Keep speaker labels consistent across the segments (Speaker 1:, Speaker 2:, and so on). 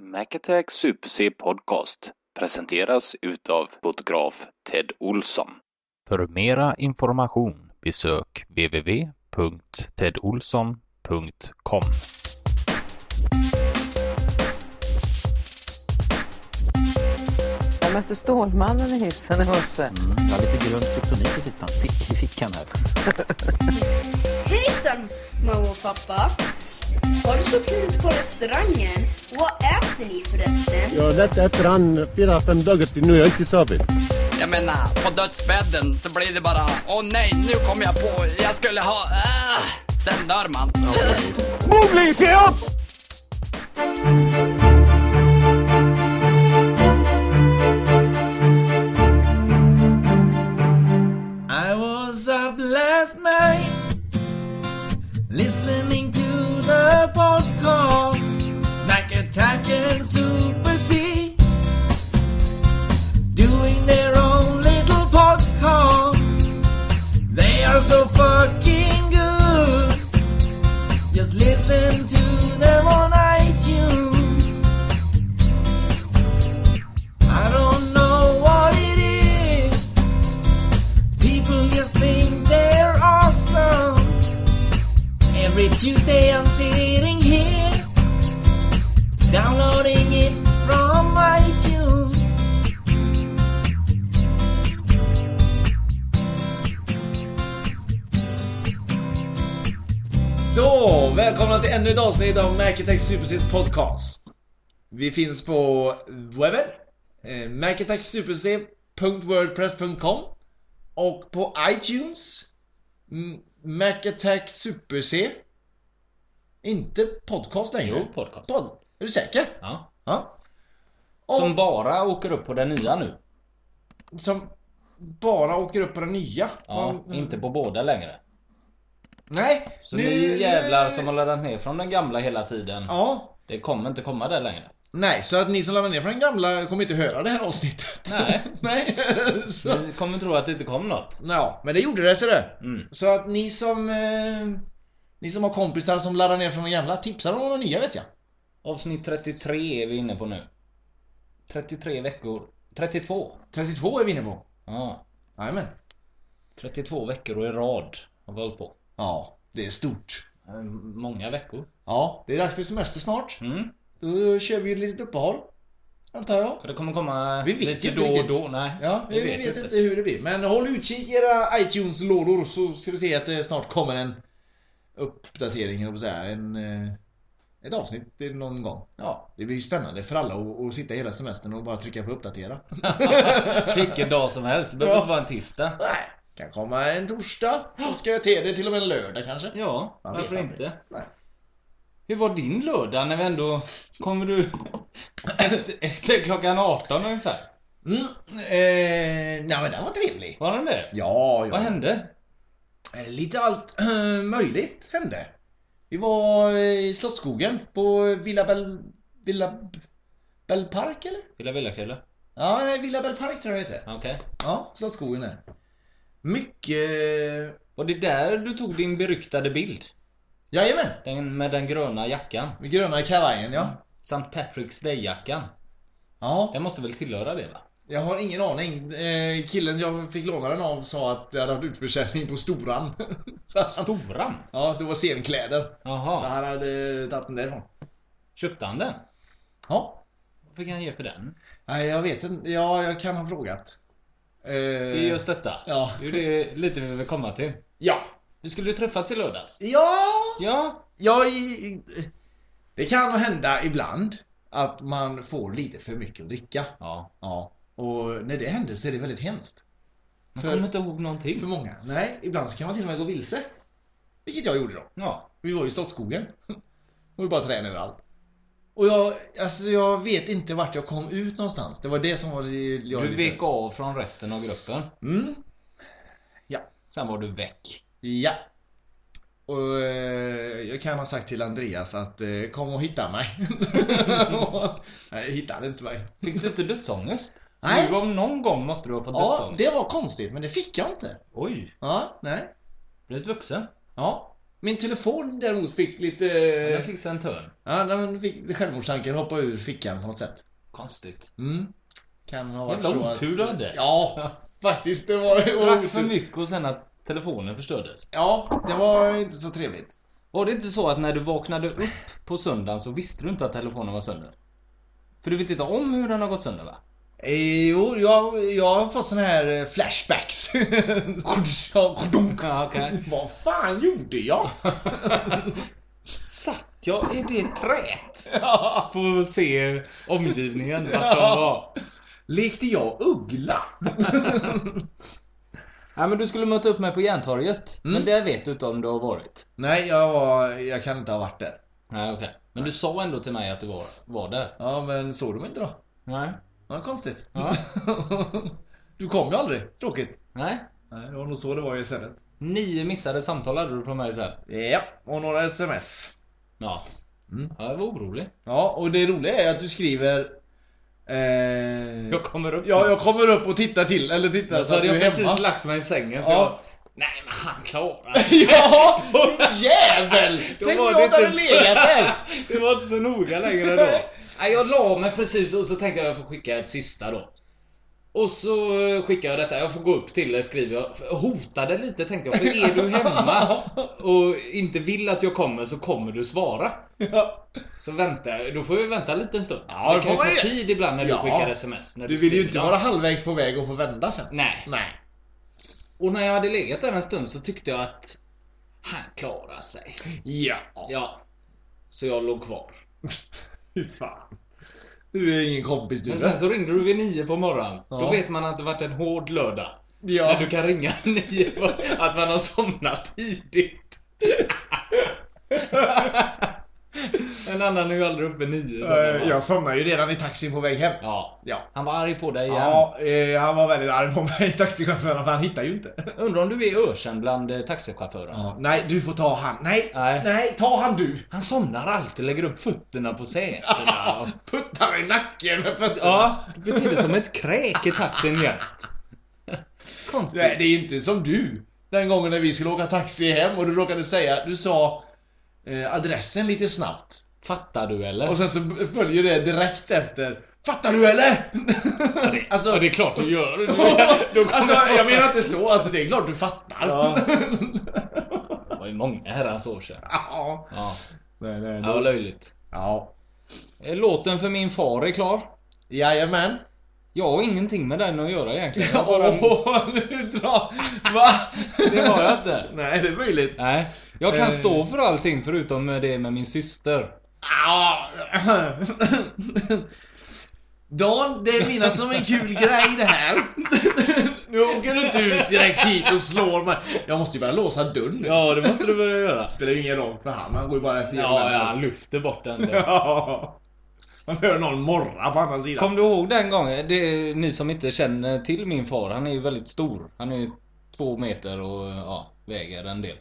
Speaker 1: Macattack Super-C Podcast presenteras utav fotograf Ted Olsson. För mera information besök www.tedolsson.com
Speaker 2: Jag mötte Stålmannen i hissen i morse.
Speaker 3: Mm, jag har lite grön kryptonit i fickan, fick, i fickan här.
Speaker 4: Hejsan mamma och pappa. Har du så kul ute på restaurangen? Vad äter ni förresten?
Speaker 5: Jag har lätt äter han fyra, fem dagar till nu. Jag har inte sovit.
Speaker 6: Jag menar, på dödsbädden så blir det bara Åh nej, nu kom jag på, jag skulle ha... Äh. Sen dör man.
Speaker 7: I was up last night listening to the podcast Mac Attack and Super C doing their own little podcast. They are so fucking good. Just listen to them on iTunes. I don't know what it is. People just think they're awesome. Every Tuesday I'm sitting here, downloading it from iTunes. Så, välkomna till ännu ett avsnitt av Macintax Supersys podcast. Vi finns på webben, eh, macintaxsuperc.wordpress.com och på iTunes M- Mac Attack Super C. Inte podcast längre.
Speaker 8: Jo, podcast.
Speaker 7: Pod. Är du säker?
Speaker 8: Ja.
Speaker 7: Ja.
Speaker 8: Som bara åker upp på den nya nu.
Speaker 7: Som bara åker upp på den nya.
Speaker 8: Ja,
Speaker 7: Man-
Speaker 8: Inte på båda längre.
Speaker 7: Nej.
Speaker 8: Så nu jävlar som har laddat ner från den gamla hela tiden.
Speaker 7: Ja.
Speaker 8: Det kommer inte komma där längre.
Speaker 7: Nej, så att ni som laddar ner från den gamla kommer inte höra det här avsnittet.
Speaker 8: Nej.
Speaker 7: Nej. så.
Speaker 8: Du kommer tro att det inte kom något.
Speaker 7: Ja, men det gjorde det ser du.
Speaker 8: Mm.
Speaker 7: Så att ni som eh, Ni som har kompisar som laddar ner från de gamla, tipsa dem om de nya vet jag.
Speaker 8: Avsnitt 33 är vi inne på nu. 33 veckor. 32.
Speaker 7: 32 är vi inne på.
Speaker 8: Ja.
Speaker 7: Jajamän.
Speaker 8: 32 veckor i rad har vi hållit på.
Speaker 7: Ja, det är stort.
Speaker 8: Eh, Många veckor.
Speaker 7: Ja, det är dags för semester snart.
Speaker 8: Mm.
Speaker 7: Då kör vi ett litet uppehåll. Antar jag.
Speaker 8: Och Det kommer komma
Speaker 7: Vi vet
Speaker 8: lite
Speaker 7: inte
Speaker 8: då och
Speaker 7: riktigt.
Speaker 8: då. Nej,
Speaker 7: Ja,
Speaker 8: vi
Speaker 7: vi
Speaker 8: vet
Speaker 7: vet,
Speaker 8: inte.
Speaker 7: inte. hur det blir. Men håll utkik i era iTunes-lådor så ska vi se att det snart kommer en uppdatering, eller säga, en, eh, ett avsnitt till någon gång. Ja, det blir ju spännande för alla att, att sitta hela semestern och bara trycka på uppdatera.
Speaker 8: Vilken dag som helst. Det behöver
Speaker 7: Ja.
Speaker 8: inte vara en tisdag.
Speaker 7: Nej, kan komma en torsdag. Så ska jag till det till och med en lördag kanske.
Speaker 8: Ja,
Speaker 7: Man
Speaker 8: varför
Speaker 7: vet aldrig.
Speaker 8: inte?
Speaker 7: Nej.
Speaker 8: Hur var din lördag när vi ändå... Kommer du... Efter, efter klockan 18 ungefär?
Speaker 7: Mm, eh, nej men den var trevlig.
Speaker 8: Var den det?
Speaker 7: Ja, ja.
Speaker 8: Vad hände?
Speaker 7: Eh, Lite allt eh, möjligt hände. Vi var eh, i Slottsskogen på Villa Bell... Villa... Bellpark eller?
Speaker 8: Villa Villa Kulle?
Speaker 7: Ja, nej, Villa Bellpark tror jag det heter.
Speaker 8: Okej.
Speaker 7: Ja, Slottsskogen där. Mycket...
Speaker 8: Var det där du tog din beryktade bild?
Speaker 7: Jajamän!
Speaker 8: Den med den gröna jackan?
Speaker 7: Med gröna kavajen ja.
Speaker 8: St. Patrick's Day-jackan?
Speaker 7: Ja,
Speaker 8: Den måste väl tillhöra det va?
Speaker 7: jag har ingen aning. Eh, killen jag fick låna den av sa att det hade varit utförsäljning på Storan. Så han-
Speaker 8: Storan?
Speaker 7: ja, det var scenkläder. Så
Speaker 8: Jaha.
Speaker 7: han hade tagit den därifrån.
Speaker 8: Köpte han den?
Speaker 7: Ja.
Speaker 8: Vad fick han ge för den?
Speaker 7: Nej, jag vet inte. Ja, jag kan ha frågat. Eh,
Speaker 8: Det är just detta.
Speaker 7: Ja.
Speaker 8: Det är det lite vi vill komma till.
Speaker 7: Ja!
Speaker 8: Vi skulle ju träffats i lördags.
Speaker 7: Ja!
Speaker 8: Ja,
Speaker 7: Ja, i- i- det kan hända ibland att man får lite för mycket att dricka.
Speaker 8: Ja.
Speaker 7: Ja. Och när det händer så är det väldigt hemskt.
Speaker 8: Man
Speaker 7: För-
Speaker 8: kommer inte ihåg någonting.
Speaker 7: För många. Nej, ibland så kan man till och med gå vilse. Vilket jag gjorde då.
Speaker 8: Ja.
Speaker 7: Vi var i Slottsskogen. Och vi bara tränade överallt. Och jag, alltså jag vet inte vart jag kom ut någonstans. Det var det som var... det Jag
Speaker 8: Du
Speaker 7: lite-
Speaker 8: vek av från resten av gruppen.
Speaker 7: Mm.
Speaker 8: Sen var du väck.
Speaker 7: Ja. Och eh, jag kan ha sagt till Andreas att eh, kom och hitta mig. Nej, hittade inte mig.
Speaker 8: Fick du inte dödsångest?
Speaker 7: Nej.
Speaker 8: Du om någon gång måste du ha fått
Speaker 7: Ja,
Speaker 8: dödsångest.
Speaker 7: det var konstigt men det fick jag inte.
Speaker 8: Oj,
Speaker 7: Ja, nej.
Speaker 8: blivit vuxen.
Speaker 7: Ja.
Speaker 9: Min telefon däremot fick lite...
Speaker 7: Den fick sig en törn.
Speaker 9: Ja, den fick självmordstanken hoppa ur fickan på något sätt.
Speaker 7: Konstigt.
Speaker 9: Mm. Kan ha varit
Speaker 7: Jävla
Speaker 9: så att-
Speaker 7: otur du hade.
Speaker 9: Ja, faktiskt. Det var det var
Speaker 7: Drack
Speaker 9: otur.
Speaker 7: för mycket och sen att telefonen förstördes.
Speaker 9: Ja, det var inte så trevligt.
Speaker 7: Var det inte så att när du vaknade upp på söndagen så visste du inte att telefonen var sönder? För du vet inte om hur den har gått sönder va?
Speaker 9: Eh, Jo, jag, jag har fått såna här eh, flashbacks. Ja,
Speaker 7: Ja, okej.
Speaker 9: Vad fan gjorde jag?
Speaker 7: Satt jag i det träet? För att se omgivningen, vart de var.
Speaker 9: Lekte jag uggla?
Speaker 7: Ja, men du skulle möta upp mig på Järntorget. Men där vet du inte om du har varit.
Speaker 9: Mm. Nej, jag, var, jag kan inte ha varit där.
Speaker 7: Nej, okej. Men du sa ändå till mig att du var, var där.
Speaker 9: Ja, men såg du mig inte då?
Speaker 7: Nej.
Speaker 9: Ja, konstigt.
Speaker 7: Ja.
Speaker 9: du kom ju aldrig. Tråkigt.
Speaker 7: Nej.
Speaker 9: Nej, det var nog så det var i istället.
Speaker 7: Nio missade samtal hade du från mig sen.
Speaker 9: Ja, och några sms.
Speaker 7: Ja.
Speaker 9: Mm.
Speaker 7: ja. Jag var orolig.
Speaker 9: Ja, och det roliga är att du skriver... Eh,
Speaker 7: Jag kommer upp.
Speaker 9: ja, jag kommer upp och tittar till, eller tittar
Speaker 7: jag
Speaker 9: så att
Speaker 7: hade
Speaker 9: du är
Speaker 7: jag precis
Speaker 9: hemma.
Speaker 7: lagt mig i sängen så
Speaker 9: Ja.
Speaker 7: jag... Nej men han klarar
Speaker 9: ja, jävel!
Speaker 7: Då
Speaker 9: Tänk om
Speaker 7: var
Speaker 9: jag
Speaker 7: det
Speaker 9: hade
Speaker 7: inte så-
Speaker 9: legat där!
Speaker 7: Det var inte så noga längre då. Nej, jag la mig precis och så tänkte jag att jag får skicka ett sista då. Och så eh, skickade jag detta, jag får gå upp till dig skriver jag. För jag Hotade lite tänkte jag, för är du hemma och inte vill att jag kommer så kommer du svara. Så vänta, då får vi vänta lite en stund.
Speaker 9: Ja,
Speaker 7: det
Speaker 9: det
Speaker 7: kan ju
Speaker 9: får man
Speaker 7: ta
Speaker 9: ju.
Speaker 7: tid ibland när du
Speaker 9: Ja.
Speaker 7: skickar sms. När
Speaker 9: Du vill ju
Speaker 7: skriver
Speaker 9: inte
Speaker 7: dem.
Speaker 9: vara halvvägs på väg och få vända sen.
Speaker 7: Nej.
Speaker 9: Nej.
Speaker 7: Och när jag hade legat där en stund så tyckte jag att han klarar sig.
Speaker 9: Ja.
Speaker 7: Ja. Så jag låg kvar.
Speaker 9: Fy fan. Du är ingen kompis du.
Speaker 7: Men
Speaker 9: va?
Speaker 7: sen så ringde du vid nio på morgonen. Då
Speaker 9: Ja.
Speaker 7: vet man att det varit en hård lördag.
Speaker 9: Ja.
Speaker 7: När du kan ringa nio på att man har somnat tidigt. en annan är ju aldrig uppe nio. så det var-
Speaker 9: Eh, Jag somnade ju redan i taxin på väg hem.
Speaker 7: ja.
Speaker 9: Ja.
Speaker 7: Han var arg på dig igen.
Speaker 9: Ja, eh, han var väldigt arg på mig, taxichauffören, för han hittar ju inte.
Speaker 7: Undrar om du är ökänd bland eh, taxichaufförerna?
Speaker 9: Ja. Nej, du får ta han. Nej,
Speaker 7: Nej.
Speaker 9: nej, ta han du.
Speaker 7: Han somnar alltid, lägger upp fötterna på sätena. och-
Speaker 9: Puttar i nacken med fötterna.
Speaker 7: ja, beter dig som ett kräk i taxin jämt. Konstigt.
Speaker 9: Nej, det är inte som du. Den gången när vi skulle åka taxi hem och du råkade säga, du sa eh, adressen lite snabbt.
Speaker 7: Fattar du eller?
Speaker 9: Och sen så följer det direkt efter. Fattar du eller? alltså,
Speaker 7: ja, det är klart du gör. Du,
Speaker 9: alltså, jag menar inte så. Alltså, det är klart du fattar.
Speaker 7: Ja. Det var ju många herrans år sedan.
Speaker 9: ja.
Speaker 7: Ja,
Speaker 9: Nej, nej,
Speaker 7: det var löjligt.
Speaker 9: ja.
Speaker 7: Eh, Låten för min far är klar.
Speaker 9: Jajamän.
Speaker 7: Jag har ingenting med den att göra egentligen. Jag
Speaker 9: Åh,
Speaker 7: bara...
Speaker 9: nu drar... Va?
Speaker 7: Det har jag inte.
Speaker 9: Nej, det är möjligt.
Speaker 7: Nej, jag kan
Speaker 9: Eh.
Speaker 7: stå för allting förutom det med min syster.
Speaker 9: Ah. Dan, det är mina som en kul grej det här. Nu åker du inte ut direkt hit och slår mig. Jag måste ju börja låsa dörren.
Speaker 7: Ja, det måste du börja göra.
Speaker 9: spelar ju ingen roll för han, han går ju bara rätt igenom
Speaker 7: Ja,
Speaker 9: den.
Speaker 7: ja, han lyfter bort den. där.
Speaker 9: Ja. Man hör någon morra på andra sidan.
Speaker 7: Kom du ihåg den gången? Det, ni som inte känner till min far, han är ju väldigt stor. Han är ju två meter och ja, väger en del.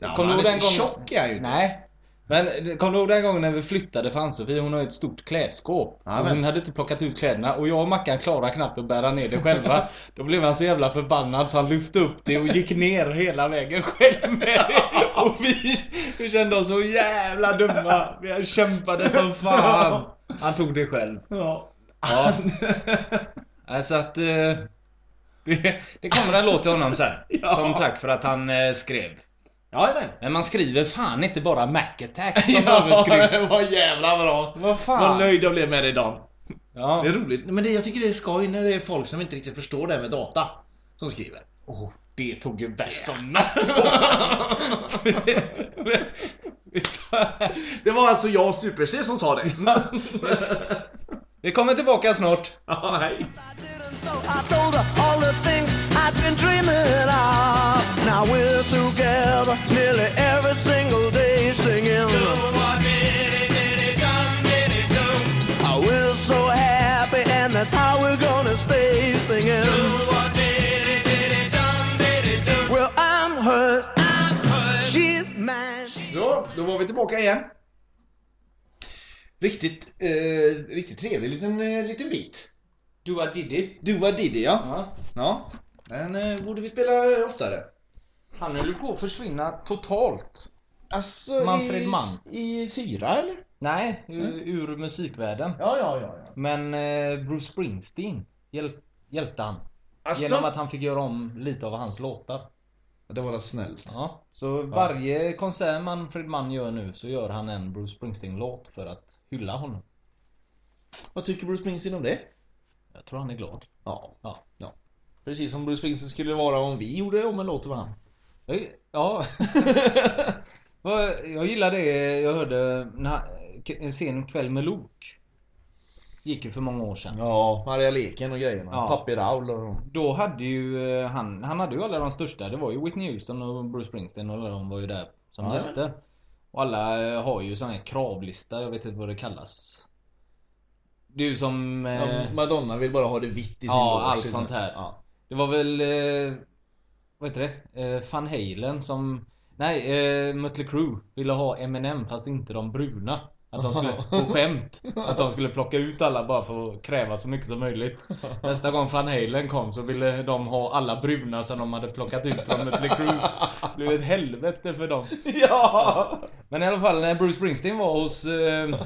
Speaker 9: Ja,
Speaker 7: kom
Speaker 9: men
Speaker 7: du ihåg
Speaker 9: han är
Speaker 7: den
Speaker 9: inte
Speaker 7: gången?
Speaker 9: tjock är han ju inte.
Speaker 7: Nej. Men eh, kom du ihåg den gången när vi flyttade för Ann-Sofie? Hon har ju ett stort klädskåp.
Speaker 9: Ja,
Speaker 7: och
Speaker 9: men.
Speaker 7: hon hade inte plockat ut kläderna och jag och Mackan klarade knappt att bära ner det själva. Då blev han så jävla förbannad så han lyfte upp det och gick ner hela vägen själv med det. Och vi, vi kände oss så jävla dumma. Vi kämpade som fan. Han tog det själv.
Speaker 9: Ja.
Speaker 7: Ja. Nej, Så att... eh, Det, det kommer en låt till honom sen.
Speaker 9: Ja.
Speaker 7: Som tack för att han eh, skrev.
Speaker 9: Jajamän.
Speaker 7: Men man skriver fan inte bara Mac Attack som
Speaker 9: Ja,
Speaker 7: överskrift.
Speaker 9: det var jävla bra.
Speaker 7: Vad
Speaker 9: Vad
Speaker 7: fan?
Speaker 9: nöjd jag blev med dig Dan.
Speaker 7: Ja.
Speaker 9: Det är roligt. Men det, jag tycker det är skoj när det är folk som inte riktigt förstår det här med data. Som skriver.
Speaker 7: Åh, det tog ju värst om natt.
Speaker 9: Det var alltså jag och Super-C som sa det.
Speaker 7: Vi kommer tillbaka snart.
Speaker 9: ja, hej.
Speaker 2: So I told her all the things I've been dreaming of. Now we're together nearly every single day singing. Oh, we're so happy, and that's how we're gonna stay singing. Well, I'm hurt. She's mine.
Speaker 9: Så, då var vi tillbaka igen. Riktigt, eh, riktigt trevlig liten, eh, liten bit.
Speaker 7: Dua Diddy.
Speaker 9: Dua Diddy ja.
Speaker 7: Ja.
Speaker 9: Ja. Den eh, borde vi spela oftare.
Speaker 7: Han höll ju på att försvinna totalt.
Speaker 9: Alltså,
Speaker 7: Manfred
Speaker 9: i,
Speaker 7: Mann.
Speaker 9: i syra eller? Mm.
Speaker 7: Nej, ur, ur musikvärlden.
Speaker 9: Ja, ja, ja. ja.
Speaker 7: Men eh, Bruce Springsteen hjälp, hjälpte han.
Speaker 9: Alltså,
Speaker 7: Genom att han fick göra om lite av hans låtar.
Speaker 9: Det var väl snällt.
Speaker 7: Ja, så varje konsert Manfred Mann gör nu så gör han en Bruce Springsteen-låt för att hylla honom.
Speaker 9: Vad tycker Bruce Springsteen om det?
Speaker 7: Jag tror han är glad.
Speaker 9: Ja.
Speaker 7: Ja.
Speaker 9: Precis som Bruce Springsteen skulle vara om vi gjorde om en låt för han.
Speaker 7: Jag- Ja. Vad- jag gillar det jag hörde när, k- en sen kväll med Luke. Gick ju för många år sedan.
Speaker 9: Ja, Maria Leken och grejerna.
Speaker 7: Ja.
Speaker 9: Pappi Raul och de.
Speaker 7: Då hade ju eh, han, han hade ju alla de största. Det var ju Whitney Houston och Bruce Springsteen och alla de var ju där som
Speaker 9: Ja, ja.
Speaker 7: gäster. Och alla eh, har ju sån här kravlista. Jag vet inte vad det kallas. Det är ju som... eh,
Speaker 9: Ja, Madonna vill bara ha det vitt i sin liksom.
Speaker 7: Ja,
Speaker 9: låt,
Speaker 7: allt
Speaker 9: så-
Speaker 7: sånt här. Det var väl... Eh, vad heter det? Eh, Van Halen som... Nej, eh, Mötley Crüe ville ha Eminem fast inte de bruna. Att de skulle, på skämt. Att de skulle plocka ut alla bara för att kräva så mycket som möjligt. Nästa gång Van Halen kom så ville de ha alla bruna som de hade plockat ut från Mötley Crües. Det blev ett helvete för dem.
Speaker 9: Ja!
Speaker 7: Men i alla fall när Bruce Springsteen var hos eh,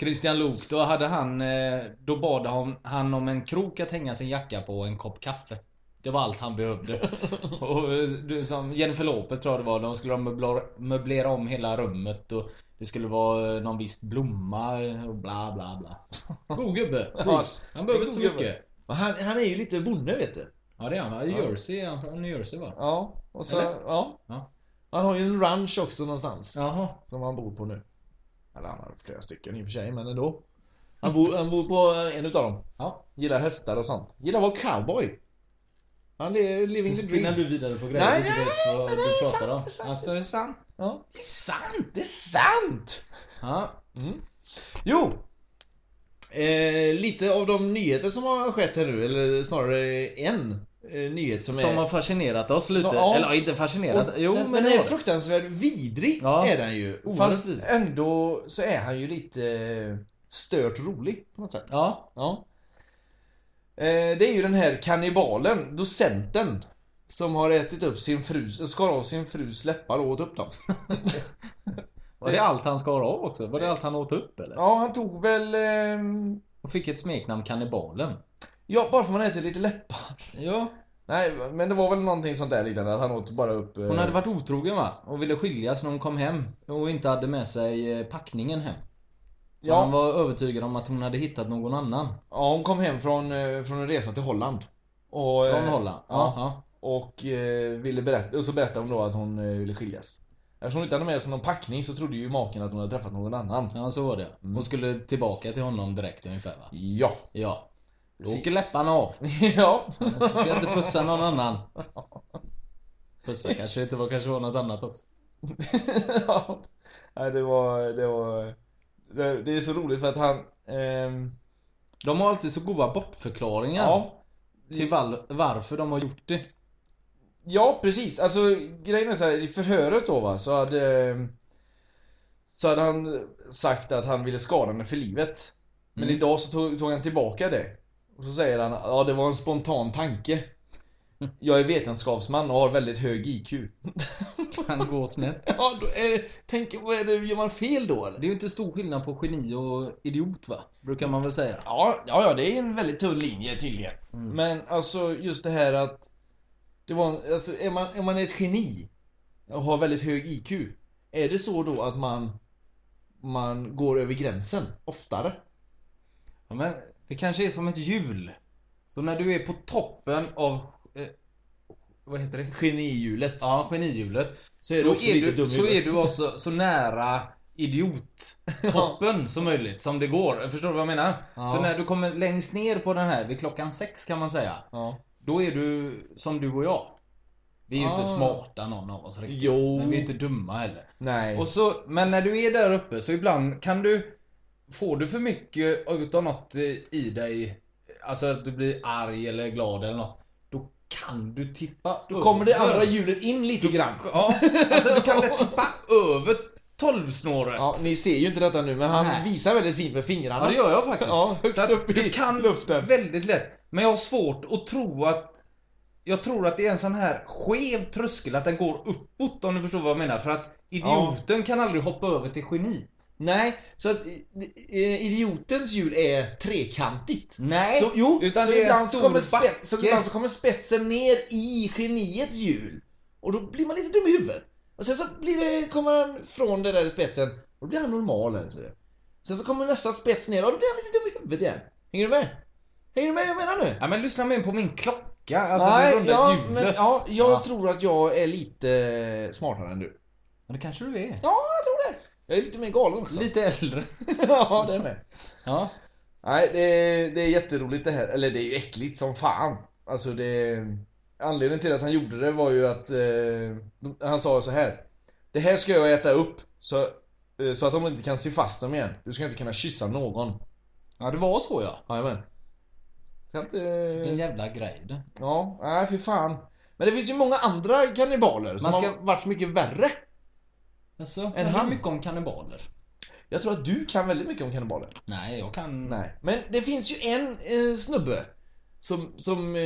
Speaker 7: Christian Luuk då hade han eh, Då bad han, han om en krok att hänga sin jacka på och en kopp kaffe Det var allt han behövde och, eh, du, som Jennifer Lopez tror jag det var De skulle de möblera, möblera om hela rummet och Det skulle vara eh, någon viss blomma eh, och bla bla bla God gubbe Bruce. Han behöver inte så
Speaker 9: God gubbe.
Speaker 7: mycket
Speaker 9: Och Han, han är ju lite bonde vet du.
Speaker 7: Ja det är han va? I Jersey är han från New Jersey va?
Speaker 9: Ja, och så,
Speaker 7: Eller?
Speaker 9: ja.
Speaker 7: Ja.
Speaker 9: Han har ju en ranch också någonstans.
Speaker 7: Jaha
Speaker 9: Som han bor på nu. Eller han har flera stycken i och för sig, men ändå. Han bor, han bor på en utav dem.
Speaker 7: Ja.
Speaker 9: Gillar hästar och sånt. Gillar att vara cowboy. Han är living the dream.
Speaker 7: Spinnar du vidare på grejer
Speaker 9: Nej,
Speaker 7: du inte
Speaker 9: nej,
Speaker 7: vet vad
Speaker 9: men det
Speaker 7: du
Speaker 9: är
Speaker 7: pratar
Speaker 9: sant,
Speaker 7: om?
Speaker 9: det är sant,
Speaker 7: Alltså,
Speaker 9: det
Speaker 7: är
Speaker 9: är
Speaker 7: det sant?
Speaker 9: Ja. Det är sant! Det är sant! Mm.
Speaker 7: Ja,
Speaker 9: Jo! Eh, lite av de nyheter som har skett här nu, eller snarare en eh, nyhet som,
Speaker 7: Som
Speaker 9: är...
Speaker 7: har fascinerat oss lite.
Speaker 9: Så, ja.
Speaker 7: Eller inte fascinerat.
Speaker 9: Och-
Speaker 7: jo,
Speaker 9: den,
Speaker 7: men
Speaker 9: den
Speaker 7: det
Speaker 9: är
Speaker 7: var det.
Speaker 9: fruktansvärt vidrig,
Speaker 7: Ja.
Speaker 9: är den ju.
Speaker 7: Oerhört
Speaker 9: Fast
Speaker 7: vidrig.
Speaker 9: ändå så är han ju lite eh, stört rolig på något sätt.
Speaker 7: Ja.
Speaker 9: Ja. Eh, det är ju den här kannibalen, docenten, som har ätit upp sin frus, eh, skar av sin frus läppar och åt upp dem.
Speaker 7: Var det allt han skar av också? Var det allt han åt upp eller?
Speaker 9: Ja, han tog väl... ehm,
Speaker 7: Och fick ett smeknamn Kannibalen.
Speaker 9: Ja, bara för man äter lite läppar.
Speaker 7: Ja.
Speaker 9: Nej, men det var väl någonting sånt där liknande. att Han åt bara upp... eh,
Speaker 7: Hon hade varit otrogen va? Och ville skiljas när hon kom hem. Och inte hade med sig eh, packningen hem. Så
Speaker 9: Ja.
Speaker 7: han var övertygad om att hon hade hittat någon annan.
Speaker 9: Ja, hon kom hem från, eh, från en resa till Holland. Och, eh,
Speaker 7: Från Holland. Ja.
Speaker 9: Ja. Och, eh, ville berätta, och så berättade hon då att hon eh, ville skiljas. Eftersom hon inte hade med sig någon packning så trodde ju maken att hon hade träffat någon annan.
Speaker 7: ja, så var det.
Speaker 9: Mm.
Speaker 7: Hon skulle tillbaka till honom direkt ungefär va?
Speaker 9: Ja.
Speaker 7: Ja. Då
Speaker 9: Precis.
Speaker 7: åker läpparna av.
Speaker 9: ja.
Speaker 7: Du ska inte pussa någon annan. Pussa kanske inte var, kanske var något annat också.
Speaker 9: ja. Nej, det var... Det var... Det, det är så roligt för att han... ehm,
Speaker 7: De har alltid så goda bortförklaringar
Speaker 9: ja.
Speaker 7: till val- varför de har gjort det.
Speaker 9: Ja, precis. Alltså grejen är så här, i förhöret då va, så hade... eh, Så hade han sagt att han ville skada henne för livet. Men
Speaker 7: Mm.
Speaker 9: idag så tog, tog han tillbaka det. Och så säger han, ja det var en spontan tanke. Jag är vetenskapsman och har väldigt hög IQ.
Speaker 7: Han går snett.
Speaker 9: ja, då är det, tänk, vad är det, gör man fel då eller?
Speaker 7: Det är ju inte stor skillnad på geni och idiot va? Brukar man väl säga.
Speaker 9: Ja, ja, ja, det är en väldigt tunn linje tydligen.
Speaker 7: Mm.
Speaker 9: Men alltså just det här att... Det var, en- alltså, är, man, är man ett geni och har väldigt hög IQ, är det så då att man, man går över gränsen oftare?
Speaker 7: Ja, men det kanske är som ett hjul. Så när du är på toppen av... Eh, vad heter det?
Speaker 9: Genihjulet.
Speaker 7: Ja, genihjulet.
Speaker 9: Så
Speaker 7: Då är
Speaker 9: lite
Speaker 7: du,
Speaker 9: dum i
Speaker 7: så är
Speaker 9: huvudet.
Speaker 7: du också så nära idiottoppen som möjligt, som det går. Förstår du vad jag menar?
Speaker 9: Ja.
Speaker 7: Så när du kommer längst ner på den här, vid klockan sex kan man säga.
Speaker 9: Ja.
Speaker 7: Då är du som du och jag. Vi är ju inte
Speaker 9: Ah.
Speaker 7: smarta någon av oss riktigt.
Speaker 9: Jo.
Speaker 7: Men vi är inte dumma heller.
Speaker 9: Nej.
Speaker 7: Och så, men när du är där uppe så ibland kan du... Får du för mycket utav något eh, i dig, alltså att du blir arg eller glad eller något. Då kan du tippa
Speaker 9: då kommer det
Speaker 7: över.
Speaker 9: andra hjulet in lite grann.
Speaker 7: Ja, alltså du kan lätt tippa över tolvsnåret.
Speaker 9: Ja, ni ser ju inte detta nu, men han
Speaker 7: Nej.
Speaker 9: visar väldigt fint med fingrarna.
Speaker 7: Ja, det gör jag faktiskt.
Speaker 9: Ja, högt
Speaker 7: så att
Speaker 9: upp i
Speaker 7: du kan
Speaker 9: luften.
Speaker 7: väldigt lätt. Men jag har svårt att tro att... Jag tror att det är en sån här skev tröskel, att den går uppåt om du förstår vad jag menar. För att
Speaker 8: Idioten kan aldrig hoppa över till geniet.
Speaker 7: Nej, så att eh, idiotens hjul är trekantigt.
Speaker 8: Nej,
Speaker 7: Så, jo,
Speaker 8: utan
Speaker 7: så
Speaker 8: det är en
Speaker 7: ibland så
Speaker 8: stor
Speaker 7: kommer spe-
Speaker 8: backe.
Speaker 7: Så ibland så kommer spetsen ner i geniets hjul. Och då blir man lite dum i huvudet. Och sen så blir det, kommer han från den där spetsen och då blir han normal. Alltså. Sen så kommer nästa spets ner och då blir han lite dum i huvudet igen. Hänger du med? Hänger du med vad jag menar nu?
Speaker 8: Ja, men lyssna med på min klocka. Alltså det runda
Speaker 7: ja,
Speaker 8: hjulet.
Speaker 7: men, ja, jag
Speaker 8: Ja.
Speaker 7: tror att jag är lite smartare än du.
Speaker 8: Men det kanske du är.
Speaker 7: Ja, jag tror det. Jag är lite mer galen också.
Speaker 8: Lite äldre.
Speaker 7: ja, det är med.
Speaker 8: Ja.
Speaker 7: Nej, det är, det är jätteroligt det här. Eller det är ju äckligt som fan. Alltså det... Anledningen till att han gjorde det var ju att... Eh, han sa så här. Det här ska jag äta upp så, eh, så att de inte kan se fast dem igen. Du ska inte kunna kyssa någon.
Speaker 8: ja, det var så ja.
Speaker 7: Jajamän. Så att,
Speaker 8: Vilken
Speaker 7: eh,
Speaker 8: jävla grej det.
Speaker 7: ja, nej fy fan. Men det finns ju många andra kannibaler som
Speaker 8: Man ska-
Speaker 7: har varit mycket värre.
Speaker 8: Alltså,
Speaker 7: En
Speaker 8: en
Speaker 7: hand.
Speaker 8: hand. mycket om kannibaler.
Speaker 7: Jag tror att du kan väldigt mycket om kannibaler.
Speaker 8: Nej, jag kan...
Speaker 7: Nej. Men det finns ju en eh, snubbe som, som eh,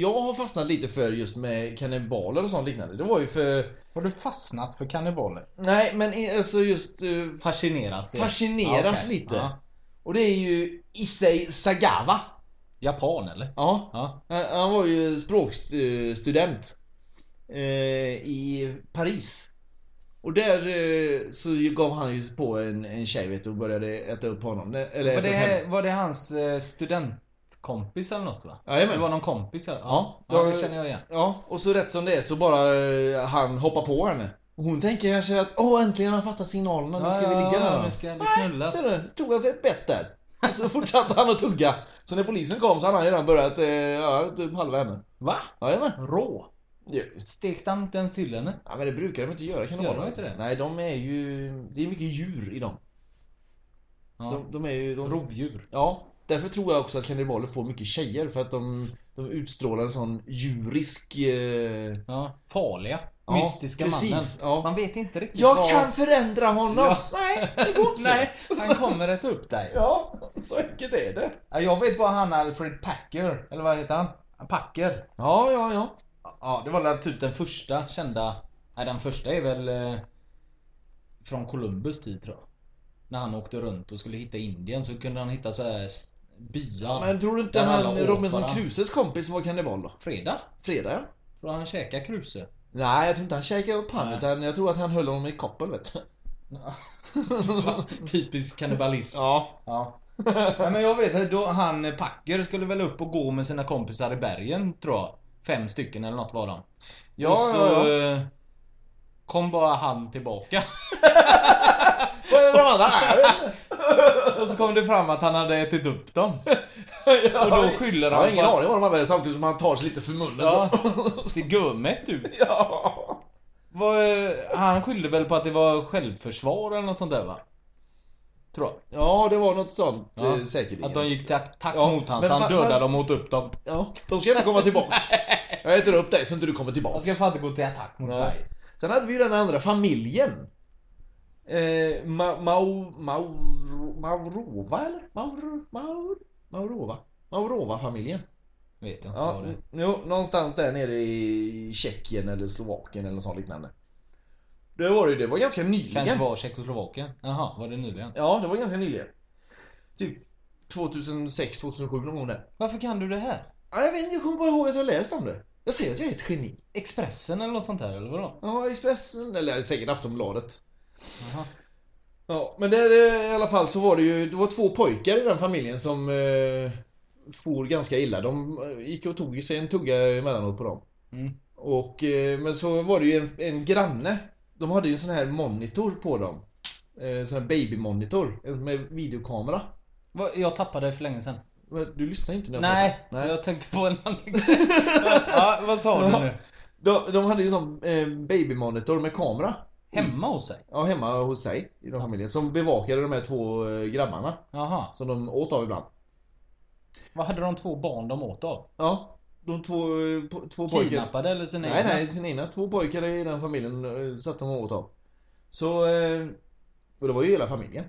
Speaker 7: jag har fastnat lite för just med kannibaler och sånt liknande. Det var ju för...
Speaker 8: Har du fastnat för kannibaler?
Speaker 7: Nej, men i- alltså just eh,
Speaker 8: Fascinerats?
Speaker 7: fascineras lite. Och det är ju Issei Sagawa.
Speaker 8: Japan eller?
Speaker 7: Ja.
Speaker 8: Ja.
Speaker 7: Han, han var ju språkstudent eh, i Paris. Och där eh, så gav han ju sig på en, en tjej vet du, och började äta upp honom. Eller
Speaker 8: Var
Speaker 7: äta upp henne.
Speaker 8: det, var det hans eh, studentkompis eller något va?
Speaker 7: Jajamän.
Speaker 8: Det var någon kompis eller? Ja,
Speaker 7: Ja,
Speaker 8: ja
Speaker 7: då-
Speaker 8: det känner jag igen.
Speaker 7: Ja, och så rätt som det är så bara eh, han hoppar på henne. Och hon tänker kanske att åh äntligen har han fattat signalerna, nu ska vi ligga där.
Speaker 8: Nu ska vi
Speaker 7: Nej,
Speaker 8: knullas.
Speaker 7: ser du? Tog han sig ett bett där. Och så fortsatte han att tugga. Så när polisen kom så hade han redan börjat, eh, ja, typ halva henne.
Speaker 8: Va?
Speaker 7: Jajamän.
Speaker 8: Rå?
Speaker 7: Ja.
Speaker 8: Stekte han inte ens till henne?
Speaker 7: ja, men det brukar de inte göra kan det
Speaker 8: Gör
Speaker 7: vara.
Speaker 8: de inte det?
Speaker 7: Nej, de är ju, det är mycket djur i dem.
Speaker 8: Ja.
Speaker 7: De, de är ju, de...
Speaker 8: Rovdjur.
Speaker 7: Ja, därför tror jag också att kannibaler får mycket tjejer för att de, de utstrålar en sån djurisk... Eh...
Speaker 8: Ja. Farliga.
Speaker 7: Ja,
Speaker 8: Mystiska
Speaker 7: precis.
Speaker 8: mannen.
Speaker 7: Ja.
Speaker 8: Man vet inte riktigt
Speaker 7: Jag
Speaker 8: vad...
Speaker 7: kan förändra honom!
Speaker 8: Ja.
Speaker 7: Nej, det går inte!
Speaker 8: Nej, han kommer rätt upp dig.
Speaker 7: Ja, så enkelt är det.
Speaker 8: Ja, Jag vet vad han Alfred Packer, eller vad heter han? Packer.
Speaker 7: Ja, ja, ja.
Speaker 8: Ja, det var väl typ den första kända... Nej, den första är väl... Eh, från Columbus tid tror jag. När han åkte runt och skulle hitta Indien så kunde han hitta så här s- byar.
Speaker 7: Men tror du inte
Speaker 8: Där
Speaker 7: han
Speaker 8: alla åt
Speaker 7: Robinson
Speaker 8: varandra.
Speaker 7: Crusoes kompis var kannibal då?
Speaker 8: Fredag?
Speaker 7: Fredag, ja.
Speaker 8: Tror han käkar kruse?
Speaker 7: Nej, jag tror inte han käkade upp han
Speaker 8: Nej.
Speaker 7: utan jag tror att han höll honom i koppel vet du.
Speaker 8: Typisk kannibalism.
Speaker 7: Ja.
Speaker 8: Ja. Nej, men jag vet inte, då han eh, Packer skulle väl upp och gå med sina kompisar i bergen tror jag. Fem stycken eller något var de.
Speaker 7: Ja,
Speaker 8: och så
Speaker 7: ja,
Speaker 8: eh, kom bara han tillbaka.
Speaker 7: Vad är det de andra? Nej, jag vet inte.
Speaker 8: och så kom det fram att han hade ätit upp dem. Och då skyller
Speaker 7: Jag har
Speaker 8: han
Speaker 7: ingen
Speaker 8: på
Speaker 7: aning vad de använder samtidigt som han tar sig lite för munnen
Speaker 8: Ja.
Speaker 7: så.
Speaker 8: ser gömmet ut.
Speaker 7: ja.
Speaker 8: Vad, eh, han skyllde väl på att det var självförsvar eller något sånt där va? Tror jag.
Speaker 7: Ja, det var något sånt
Speaker 8: Ja.
Speaker 7: eh, säkerligen.
Speaker 8: Att de gick till attack
Speaker 7: Ja,
Speaker 8: mot han
Speaker 7: men
Speaker 8: så han
Speaker 7: va-
Speaker 8: dödade
Speaker 7: varför-
Speaker 8: dem och åt upp dem.
Speaker 7: Ja. De ska inte komma tillbaks. jag äter upp dig så inte du kommer
Speaker 8: Jag
Speaker 7: tillbaks.
Speaker 8: ska fan inte gå till attack mot
Speaker 7: Nej.
Speaker 8: dig.
Speaker 7: Sen hade vi ju den andra familjen. Eh, Ma- Mau... Mauro- Maurova eller? Mauro... Maur, Maurova? Maurova-familjen.
Speaker 8: Vet jag inte
Speaker 7: Ja,
Speaker 8: vad det är.
Speaker 7: jo, någonstans där nere i Tjeckien eller Slovakien eller sånt liknande. Det var det ju, det var ganska nyligen.
Speaker 8: Kanske var Tjeckoslovakien. Jaha, var det nyligen?
Speaker 7: Ja, det var ganska nyligen. Typ 2006, 2007 någon gång där.
Speaker 8: Varför kan du det här?
Speaker 7: Ja, jag vet inte, jag kommer bara ihåg att jag läst om det. Jag säger att jag är ett geni.
Speaker 8: Expressen eller något sånt här eller vadå?
Speaker 7: Ja, Expressen, eller säkert Aftonbladet.
Speaker 8: Jaha.
Speaker 7: Ja, men där eh, i alla fall så var det ju det var två pojkar i den familjen som eh, for ganska illa. De eh, gick och tog sig en tugga emellanåt på dem.
Speaker 8: Mm.
Speaker 7: Och, eh, men så var det ju en, en granne. De hade ju en sån här monitor på dem. Eh, sån här babymonitor en med videokamera.
Speaker 8: Vad, Jag tappade det för länge sedan.
Speaker 7: Men du lyssnar ju inte när jag
Speaker 8: Nej,
Speaker 7: pratar. Nej.
Speaker 8: jag tänkte på en annan grej. ja, Vad sa du nu?
Speaker 7: De, de hade ju en sån eh, babymonitor med kamera.
Speaker 8: Hemma hos sig?
Speaker 7: Ja, hemma hos sig i den familjen. Som bevakade de här två eh, grabbarna.
Speaker 8: Jaha.
Speaker 7: Som de åt av ibland.
Speaker 8: Vad hade de två barn de åt av?
Speaker 7: Ja, de två, eh, po- två pojkar.
Speaker 8: Kidnappade eller sina
Speaker 7: Nej, nej, sina egna två pojkar i den familjen eh, satt de åt av. Så, eh, och det var ju hela familjen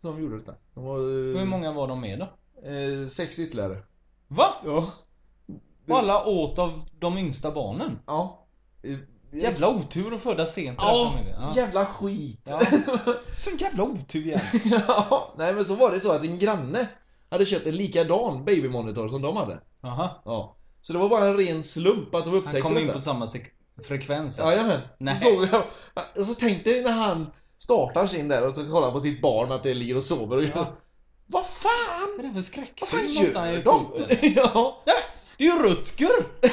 Speaker 7: som gjorde detta. De var, eh,
Speaker 8: Hur många var de med då?
Speaker 7: Eh, sex ytterligare.
Speaker 8: Va?
Speaker 7: Ja.
Speaker 8: Och alla åt av de yngsta barnen?
Speaker 7: Ja. Eh,
Speaker 8: Jävla otur att födas sent i den
Speaker 7: Ja,
Speaker 8: familjen. Ja.
Speaker 7: jävla skit.
Speaker 8: Sån jävla otur igen.
Speaker 7: Ja, nej men så var det så att en granne hade köpt en likadan babymonitor som de hade.
Speaker 8: Jaha.
Speaker 7: Ja. Så det var bara en ren slump att de upptäckte
Speaker 8: Han kom in
Speaker 7: detta.
Speaker 8: på samma sek- frekvens. alltså.
Speaker 7: Jajamän.
Speaker 8: Nej.
Speaker 7: Så såg jag. Så tänkte jag när han startar sin där och så kollar han på sitt barn att det ligger och sover och
Speaker 8: Ja.
Speaker 7: jag, Vad fan!
Speaker 8: Vad är
Speaker 7: Vad
Speaker 8: det för
Speaker 7: fan
Speaker 8: skräckfilm måste han
Speaker 7: gör
Speaker 8: ju
Speaker 7: de?
Speaker 8: ta upp?
Speaker 7: ja.
Speaker 8: Det är ju Rutger!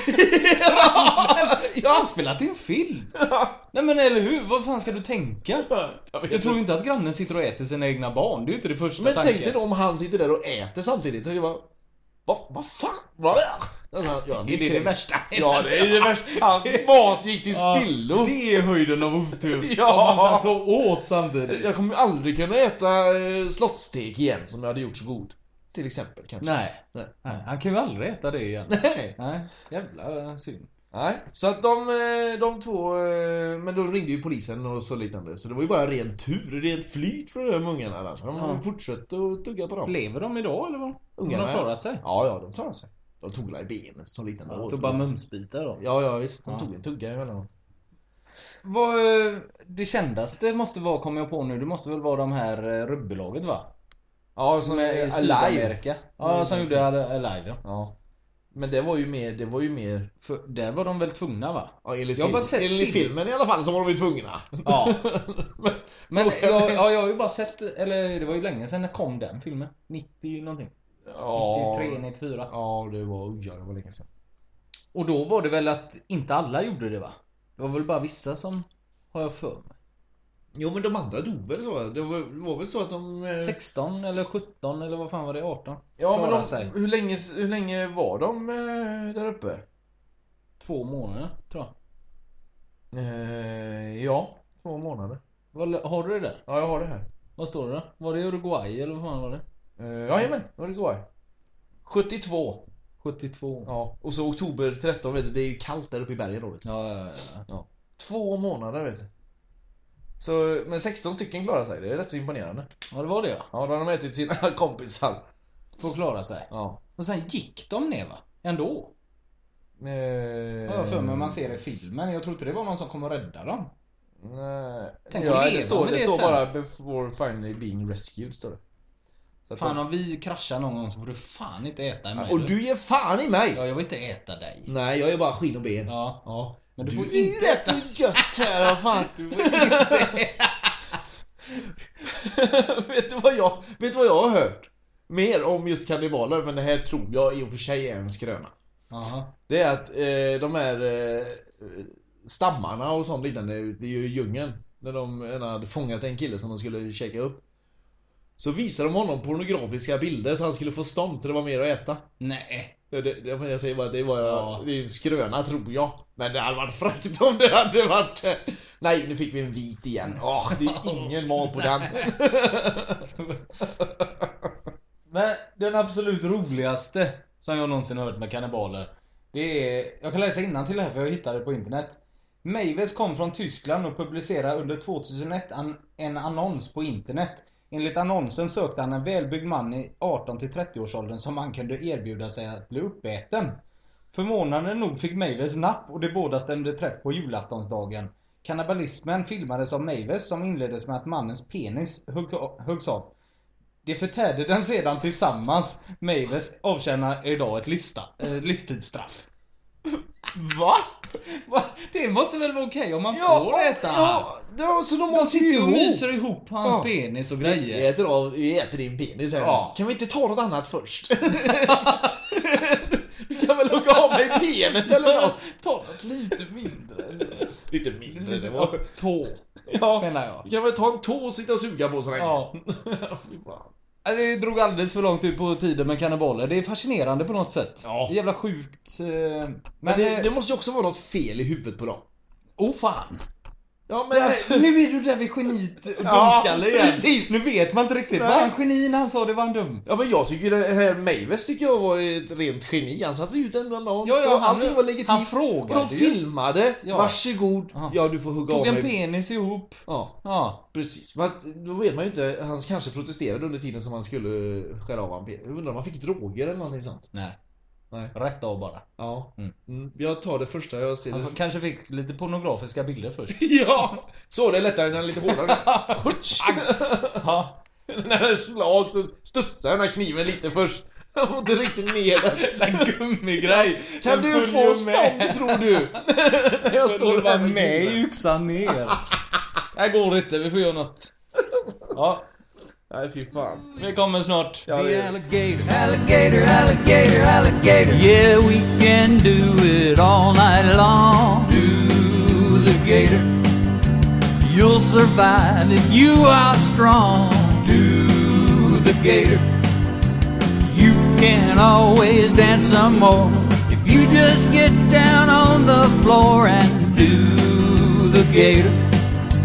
Speaker 8: Jag har spelat i en film! Nej men eller hur? Vad fan ska du tänka?
Speaker 7: Jag vet
Speaker 8: Du tror ju
Speaker 7: inte.
Speaker 8: inte att grannen sitter och äter sina egna barn, det är ju inte det första
Speaker 7: Men
Speaker 8: tanken.
Speaker 7: tänk dig då om han sitter där och äter samtidigt. Och jag bara, vad, vad fan? Vad är det? Alltså, ja,
Speaker 8: Är det
Speaker 7: kräks.
Speaker 8: det värsta?
Speaker 7: Ja, det är det värsta. Hans mat gick till
Speaker 8: Ja,
Speaker 7: spillo.
Speaker 8: Det är höjden av otur!
Speaker 7: Ja.
Speaker 8: Om man satt och åt samtidigt.
Speaker 7: Jag kommer ju aldrig kunna äta eh, slottsteg igen som jag hade gjort så god. Till exempel kanske.
Speaker 8: Nej.
Speaker 7: Nej.
Speaker 8: Nej, han kan ju aldrig äta det igen.
Speaker 7: Nej.
Speaker 8: Nej, jävla synd.
Speaker 7: Nej. Så att de, eh, de två, eh, men då ringde ju polisen och så liknande. Så det var ju bara ren tur, rent flyt för de där ungarna annars. De
Speaker 8: Ja.
Speaker 7: fortsatte att tugga på dem.
Speaker 8: Lever de idag eller vad?
Speaker 7: Ungarna,
Speaker 8: Ungarna har
Speaker 7: ja.
Speaker 8: klarat sig.
Speaker 7: Ja, ja, de klarade sig. De tog la i benet så liknande.
Speaker 8: Ja,
Speaker 7: Och
Speaker 8: tog
Speaker 7: tog-
Speaker 8: bara mumsbitar då.
Speaker 7: Ja, ja visst. De
Speaker 8: Ja.
Speaker 7: tog en tugga emellanåt.
Speaker 8: Vad, eh, det kändaste måste vara, kommer jag på nu, det måste väl vara de här eh, rugbylaget va?
Speaker 7: Ja,
Speaker 8: Som är i Sydamerika. Ja, som gjorde Al- Alive ja.
Speaker 7: Ja. Men det var ju mer, det var ju mer...
Speaker 8: För där var de väl tvungna va?
Speaker 7: Ja, enligt,
Speaker 8: Jag har
Speaker 7: film,
Speaker 8: bara sett
Speaker 7: enligt
Speaker 8: film.
Speaker 7: filmen i alla fall så var de ju tvungna.
Speaker 8: Ja.
Speaker 7: Men-
Speaker 8: Men jag, ja, jag har ju bara sett, eller det var ju länge sedan när kom den filmen? 90 någonting?
Speaker 7: Ja.
Speaker 8: 93, 94.
Speaker 7: Ja, det var, ja, det var länge sedan.
Speaker 8: Och då var det väl att inte alla gjorde det va? Det var väl bara vissa som, har jag för mig.
Speaker 7: Jo men de andra dog väl så? Det var, det var väl så att de... eh,
Speaker 8: 16 eller 17 eller vad fan var det? 18?
Speaker 7: ja, men
Speaker 8: klarade
Speaker 7: de,
Speaker 8: sig.
Speaker 7: Hur, länge, hur länge var de eh, där uppe?
Speaker 8: Två månader tror jag.
Speaker 7: Eh, ja, två månader.
Speaker 8: Vad- Har du det där?
Speaker 7: Ja, jag har det här.
Speaker 8: Vad står det då? Var det Uruguay eller vad fan var det?
Speaker 7: Eh, Jajamän, Uruguay. 72.
Speaker 8: 72. Ja,
Speaker 7: Ja, och så oktober 13 vet du, det är ju kallt där uppe i bergen då vet du.
Speaker 8: ja, ja, ja.
Speaker 7: Två månader vet du. Så, men 16 stycken klarar sig, det är rätt så imponerande.
Speaker 8: ja det var det ja.
Speaker 7: Ja, då har de ätit sina kompisar.
Speaker 8: Får klara sig.
Speaker 7: Ja.
Speaker 8: Och sen gick de ner va? Ändå.
Speaker 7: Eh,
Speaker 8: Har jag för mig man ser i filmen. Jag tror inte det var någon som kom och rädda dem.
Speaker 7: Nej.
Speaker 8: Tänk att
Speaker 7: ja,
Speaker 8: leva
Speaker 7: det står,
Speaker 8: med
Speaker 7: det
Speaker 8: det
Speaker 7: står
Speaker 8: sen.
Speaker 7: bara before finally being rescued står det. Så att
Speaker 8: Fan
Speaker 7: de-
Speaker 8: om vi kraschar någon gång så får du fan inte äta mig.
Speaker 7: och du ger fan i mig!
Speaker 8: Ja, jag vill inte äta dig.
Speaker 7: Nej, jag är bara skinn och ben.
Speaker 8: Ja.
Speaker 7: Ja.
Speaker 8: Men du,
Speaker 7: Du,
Speaker 8: får
Speaker 7: är ju
Speaker 8: inte
Speaker 7: rätt
Speaker 8: äta.
Speaker 7: så gött här vad fan. vet, du vad jag, vet du vad jag har hört? Mer om just kannibaler, men det här tror jag i och för sig är en skröna.
Speaker 8: Jaha.
Speaker 7: Det är att eh, de här eh, stammarna och sånt liknande ute i djungeln. När de ena hade fångat en kille som de skulle käka upp. Så visade de honom pornografiska bilder så han skulle få stånd så det var mer att äta.
Speaker 8: Nej.
Speaker 7: Det, det, det, men jag säger bara att det var
Speaker 8: Ja.
Speaker 7: det är en skröna tror jag. Men det hade varit fräckt om det hade varit... Nej, nu fick vi en vit igen. Åh, det är ingen mat på den.
Speaker 8: Men den absolut roligaste som jag någonsin har hört med kannibaler. Det är, jag kan läsa innan till här för jag hittade det på internet. Mavis kom från Tyskland och publicerade under 2001 an, en annons på internet. Enligt annonsen sökte han en välbyggd man i 18 till 30 årsåldern som han kunde erbjuda sig att bli uppäten. Förvånande nog fick Mavis napp och de båda stämde träff på julaftonsdagen. Kannibalismen filmades av Mavis som inleddes med att mannens penis hugg, huggs av. De förtärde den sedan tillsammans. Mavis avtjänar idag ett livsta, eh, livstidsstraff. Va? Va? Det måste väl vara okej om man får äta?
Speaker 7: ja, ja, så de
Speaker 8: De
Speaker 7: åt ju
Speaker 8: sitter ju och
Speaker 7: ihop.
Speaker 8: myser ihop på hans
Speaker 7: Ja.
Speaker 8: penis och
Speaker 7: Vi
Speaker 8: grejer.
Speaker 7: äter, av, vi äter din penis här.
Speaker 8: Ja.
Speaker 7: Kan vi inte ta något annat först? du kan väl hugga av mig benet eller något?
Speaker 8: Ta något lite mindre.
Speaker 7: Lite mindre
Speaker 8: Lite var... tå,
Speaker 7: Ja.
Speaker 8: menar jag.
Speaker 7: Kan vi ta en tå och sitta och suga på så länge?
Speaker 8: Ja.
Speaker 7: Fy fan.
Speaker 8: Ja, Det drog alldeles för långt ut på tiden med kannibaler. Det är fascinerande på något sätt.
Speaker 7: Ja.
Speaker 8: Det är jävla sjukt. eh, Men,
Speaker 7: Men det,
Speaker 8: eh,
Speaker 7: det måste ju också vara något fel i huvudet på dem.
Speaker 8: Oh fan!
Speaker 7: Ja,
Speaker 8: Där, Nu är du där vid geniet och
Speaker 7: Ja,
Speaker 8: dumskalle igen.
Speaker 7: precis.
Speaker 8: Nu vet man inte riktigt.
Speaker 7: Nej.
Speaker 8: Var han geni när han sa det? Var han dum?
Speaker 7: Ja men jag tycker det här Mavis tycker jag var ett rent geni. Han satte ut en annons
Speaker 8: Ja, ja,
Speaker 7: och
Speaker 8: han-
Speaker 7: allting var legitimt.
Speaker 8: han
Speaker 7: och
Speaker 8: frågade
Speaker 7: de
Speaker 8: ju.
Speaker 7: filmade.
Speaker 8: Ja.
Speaker 7: Varsågod.
Speaker 8: Aha.
Speaker 7: Ja du får hugga
Speaker 8: Tog
Speaker 7: av mig.
Speaker 8: en penis ihop.
Speaker 7: ja
Speaker 8: Ja.
Speaker 7: precis. Men då vet man ju inte. Han kanske protesterade under tiden som han skulle skära av en penis. Jag undrar om han fick droger eller någonting sånt.
Speaker 8: Nej.
Speaker 7: Nej.
Speaker 8: Rätt av bara.
Speaker 7: Ja.
Speaker 8: Mm.
Speaker 7: Mm. Jag tar det första jag ser.
Speaker 8: Han
Speaker 7: Det...
Speaker 8: f- kanske fick lite pornografiska bilder först.
Speaker 7: ja! Så, det är lättare när den är lite hårdare. Hutsch!
Speaker 8: Ja.
Speaker 7: när den slag så studsar den här kniven lite först. Jag får inte riktigt ner den.
Speaker 8: En gummigrej.
Speaker 7: Kan
Speaker 8: Den
Speaker 7: du
Speaker 8: följer
Speaker 7: få
Speaker 8: med.
Speaker 7: stånd tror du?
Speaker 8: När jag står
Speaker 7: du bara
Speaker 8: där med
Speaker 7: med i
Speaker 8: yxan ner. Det här går inte, vi får göra något. Ja,
Speaker 7: Nej fy fan.
Speaker 8: vi kommer snart.
Speaker 7: Ja, det...
Speaker 3: Alligator, alligator, alligator, alligator. Yeah, we can do it all night long. Do the gator. You'll survive if you are strong. Do the gator. You can always dance some more if you just get down on the floor and do the gator.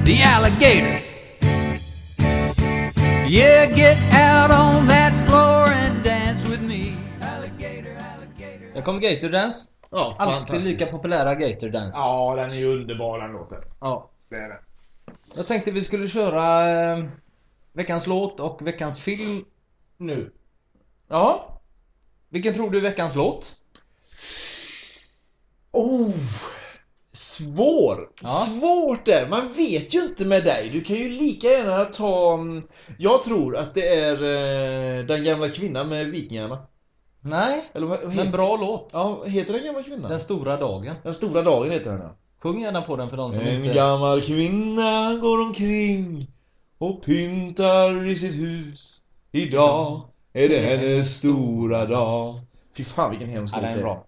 Speaker 3: The alligator. Yeah, get out on that floor and dance with me. Alligator, alligator.
Speaker 8: Där kom Gator Dance.
Speaker 7: Ja,
Speaker 8: Alltid lika populära Gator Dance.
Speaker 7: Ja, den är ju underbar den låten.
Speaker 8: Ja.
Speaker 7: Det är den.
Speaker 8: Jag tänkte vi skulle köra eh, veckans låt och veckans film nu.
Speaker 7: Ja.
Speaker 8: Vilken tror du är veckans låt?
Speaker 7: Oh! Svår!
Speaker 8: Ja.
Speaker 7: Svårt det! Man vet ju inte med dig. Du kan ju lika gärna ta... mm, Jag tror att det är eh, Den gamla kvinnan med vikingarna.
Speaker 8: Nej,
Speaker 7: Eller vad vad heter
Speaker 8: men bra låt.
Speaker 7: Ja, heter Den gamla kvinnan?
Speaker 8: Den stora dagen.
Speaker 7: Den stora dagen heter den ja.
Speaker 8: Sjung gärna på den för de som
Speaker 7: En
Speaker 8: inte...
Speaker 7: gammal kvinna går omkring och pyntar i sitt hus. Idag är det hennes stora dag. Fy fan vilken hemsk
Speaker 8: Ja, den är
Speaker 7: låt det
Speaker 8: bra.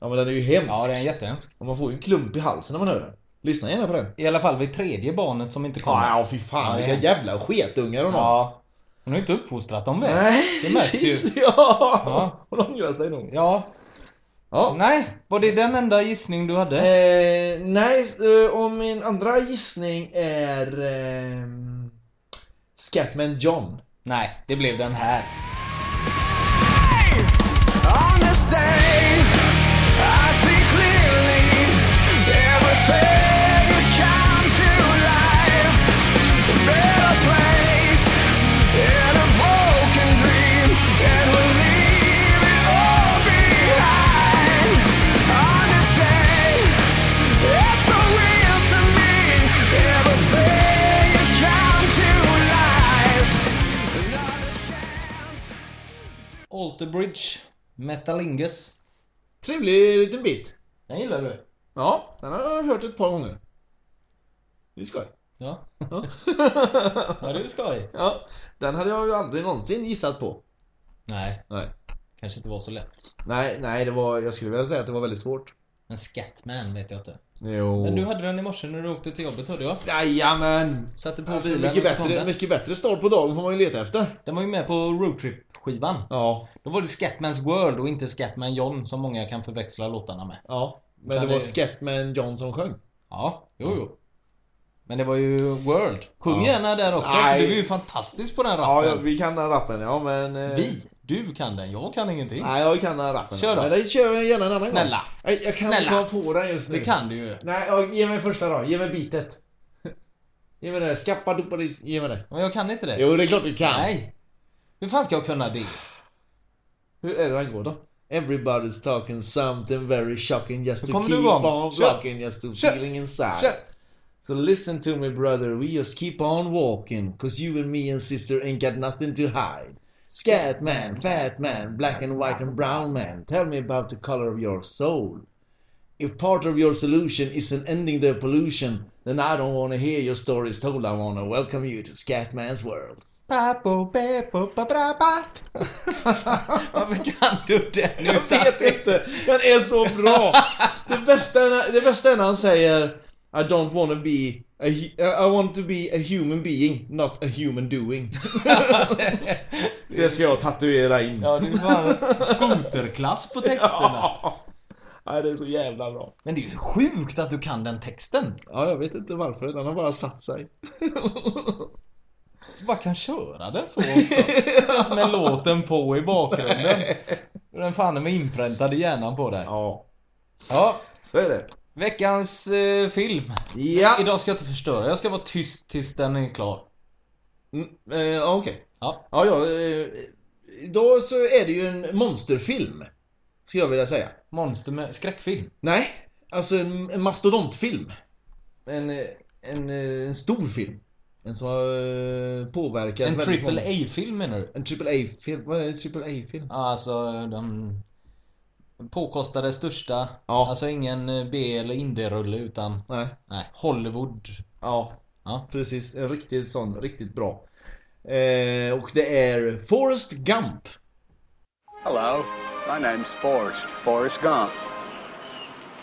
Speaker 7: Ja men den är ju hemsk.
Speaker 8: Ja, den är jättehemsk.
Speaker 7: Och man får ju en klump i halsen när man hör den. Lyssna gärna på den.
Speaker 8: I alla fall vid tredje barnet som inte kommer.
Speaker 7: Ja, ja fy fan
Speaker 8: Ja, det är
Speaker 7: vilka jävla sketungar hon har.
Speaker 8: Ja. Hon har ju inte uppfostrat dem väl.
Speaker 7: Nej,
Speaker 8: det märks ju.
Speaker 7: precis, Ja.
Speaker 8: Ja.
Speaker 7: Hon ångrar sig nog.
Speaker 8: Ja.
Speaker 7: Ja.
Speaker 8: Nej, var det den enda gissning du hade?
Speaker 7: Eh, nej, eh, och min andra gissning är... Eh, Scatman John.
Speaker 8: Nej, det blev den här.
Speaker 9: On this day, I see clearly everything has come to life. A better place in a broken dream, and we'll leave it all behind. On this day, it's so real to me. Everything has come to life. Another chance.
Speaker 8: Alterbridge, Metalingus.
Speaker 7: Trevlig liten bit.
Speaker 8: Den gillar du?
Speaker 7: Ja, den har jag hört ett par gånger. Det är skoj.
Speaker 8: Ja.
Speaker 7: Ja.
Speaker 8: Ja, det är skoj.
Speaker 7: ja, den hade jag ju aldrig någonsin gissat på.
Speaker 8: Nej,
Speaker 7: Nej.
Speaker 8: kanske inte var så lätt.
Speaker 7: Nej, nej, det var, jag skulle vilja säga att det var väldigt svårt.
Speaker 8: Men Scatman vet jag inte.
Speaker 7: Jo.
Speaker 8: Men du hade den i morse när du åkte till jobbet hörde jag.
Speaker 7: Jajamän!
Speaker 8: Satte på
Speaker 7: Alltså,
Speaker 8: bilen
Speaker 7: mycket,
Speaker 8: och så kom
Speaker 7: bättre,
Speaker 8: den.
Speaker 7: mycket bättre start på dagen får man ju leta efter.
Speaker 8: Den var ju med på Roadtrip-skivan.
Speaker 7: Ja.
Speaker 8: Då var det Scatman's World och inte Scatman John som många kan förväxla låtarna med.
Speaker 7: Ja. Men
Speaker 8: Utan
Speaker 7: det var
Speaker 8: det-
Speaker 7: Scatman John som sjöng.
Speaker 8: Ja, jo, jo. Men det var ju World. Sjung
Speaker 7: Ja.
Speaker 8: gärna där också,
Speaker 7: Nej.
Speaker 8: för du är ju fantastisk på den
Speaker 7: Ja,
Speaker 8: rappen.
Speaker 7: ja, vi kan den rappen, ja men... eh,
Speaker 8: Vi? Du kan den, jag kan ingenting.
Speaker 7: Nej, jag kan den rappen.
Speaker 8: Kör då.
Speaker 7: Men det kör jag gärna en annan
Speaker 8: Snälla.
Speaker 7: gång. Nej, Jag kan
Speaker 8: Snälla.
Speaker 7: inte komma på den just nu.
Speaker 8: Det kan du ju.
Speaker 7: Nej, ja, ge mig första då. Ge mig bitet. Ge mig det. Skappa doparis. Ge mig det.
Speaker 8: Men jag kan inte det.
Speaker 7: Jo, det är klart du kan.
Speaker 8: Nej. Hur fan ska jag kunna det?
Speaker 7: Hur är det den går då? Everybody's talking something very shocking just
Speaker 8: Nu
Speaker 7: to
Speaker 8: kommer du
Speaker 7: keep
Speaker 8: igång.
Speaker 7: on
Speaker 8: Kör.
Speaker 7: rocking just to
Speaker 8: Kör.
Speaker 7: feeling inside.
Speaker 8: Kör.
Speaker 7: So listen to me brother, we just keep on walking Cause you and me and sister ain't got nothing to hide Scat man, fat man, black and white and brown man Tell me about the color of your soul If part of your solution isn't ending the pollution Then I don't wanna hear your stories told I wanna welcome you to Scatman's world
Speaker 8: Papo, pepo, paprapa. Varför kan du den
Speaker 7: Jag vet inte. Den är så bra. Det bästa, det bästa är när han säger I don't wanna be a, hu- uh, I want to be a human being, not a human doing. det ska jag tatuera in.
Speaker 8: Ja, det är fan skoterklass på texterna.
Speaker 7: Nej, det är så jävla bra.
Speaker 8: Men det är ju sjukt att du kan den texten.
Speaker 7: Ja, jag vet inte varför. Den har bara satt sig.
Speaker 8: Du bara kan köra den så också. Alltså med låten på i bakgrunden. Den fan är med inpräntad i hjärnan på dig.
Speaker 7: ja,
Speaker 8: Ja,
Speaker 7: så är det.
Speaker 8: veckans eh, film.
Speaker 7: Ja,
Speaker 8: Idag ska jag inte förstöra, jag ska vara tyst tills den är klar.
Speaker 7: mm, eh, okej.
Speaker 8: Ja.
Speaker 7: Ja, ja. Eh, då så är det ju en monsterfilm. Skulle jag vilja säga.
Speaker 8: Monster med skräckfilm.
Speaker 7: Nej, alltså en, en mastodontfilm. En, eh, en, eh, en stor film. En som har eh, påverkat
Speaker 8: En
Speaker 7: väldigt
Speaker 8: triple
Speaker 7: många-
Speaker 8: A-film menar du?
Speaker 7: En triple A-film. Vad är en triple A-film?
Speaker 8: Ja, Alltså de påkostade största.
Speaker 7: Ja.
Speaker 8: Alltså ingen eh, B eller indie-rulle utan
Speaker 7: Nej.
Speaker 8: nej, Hollywood.
Speaker 7: Ja.
Speaker 8: Ja.
Speaker 7: Precis, en riktigt sån, riktigt bra. Eh, och det är Forrest Gump.
Speaker 10: Hello, my name's Forrest, Forrest Gump.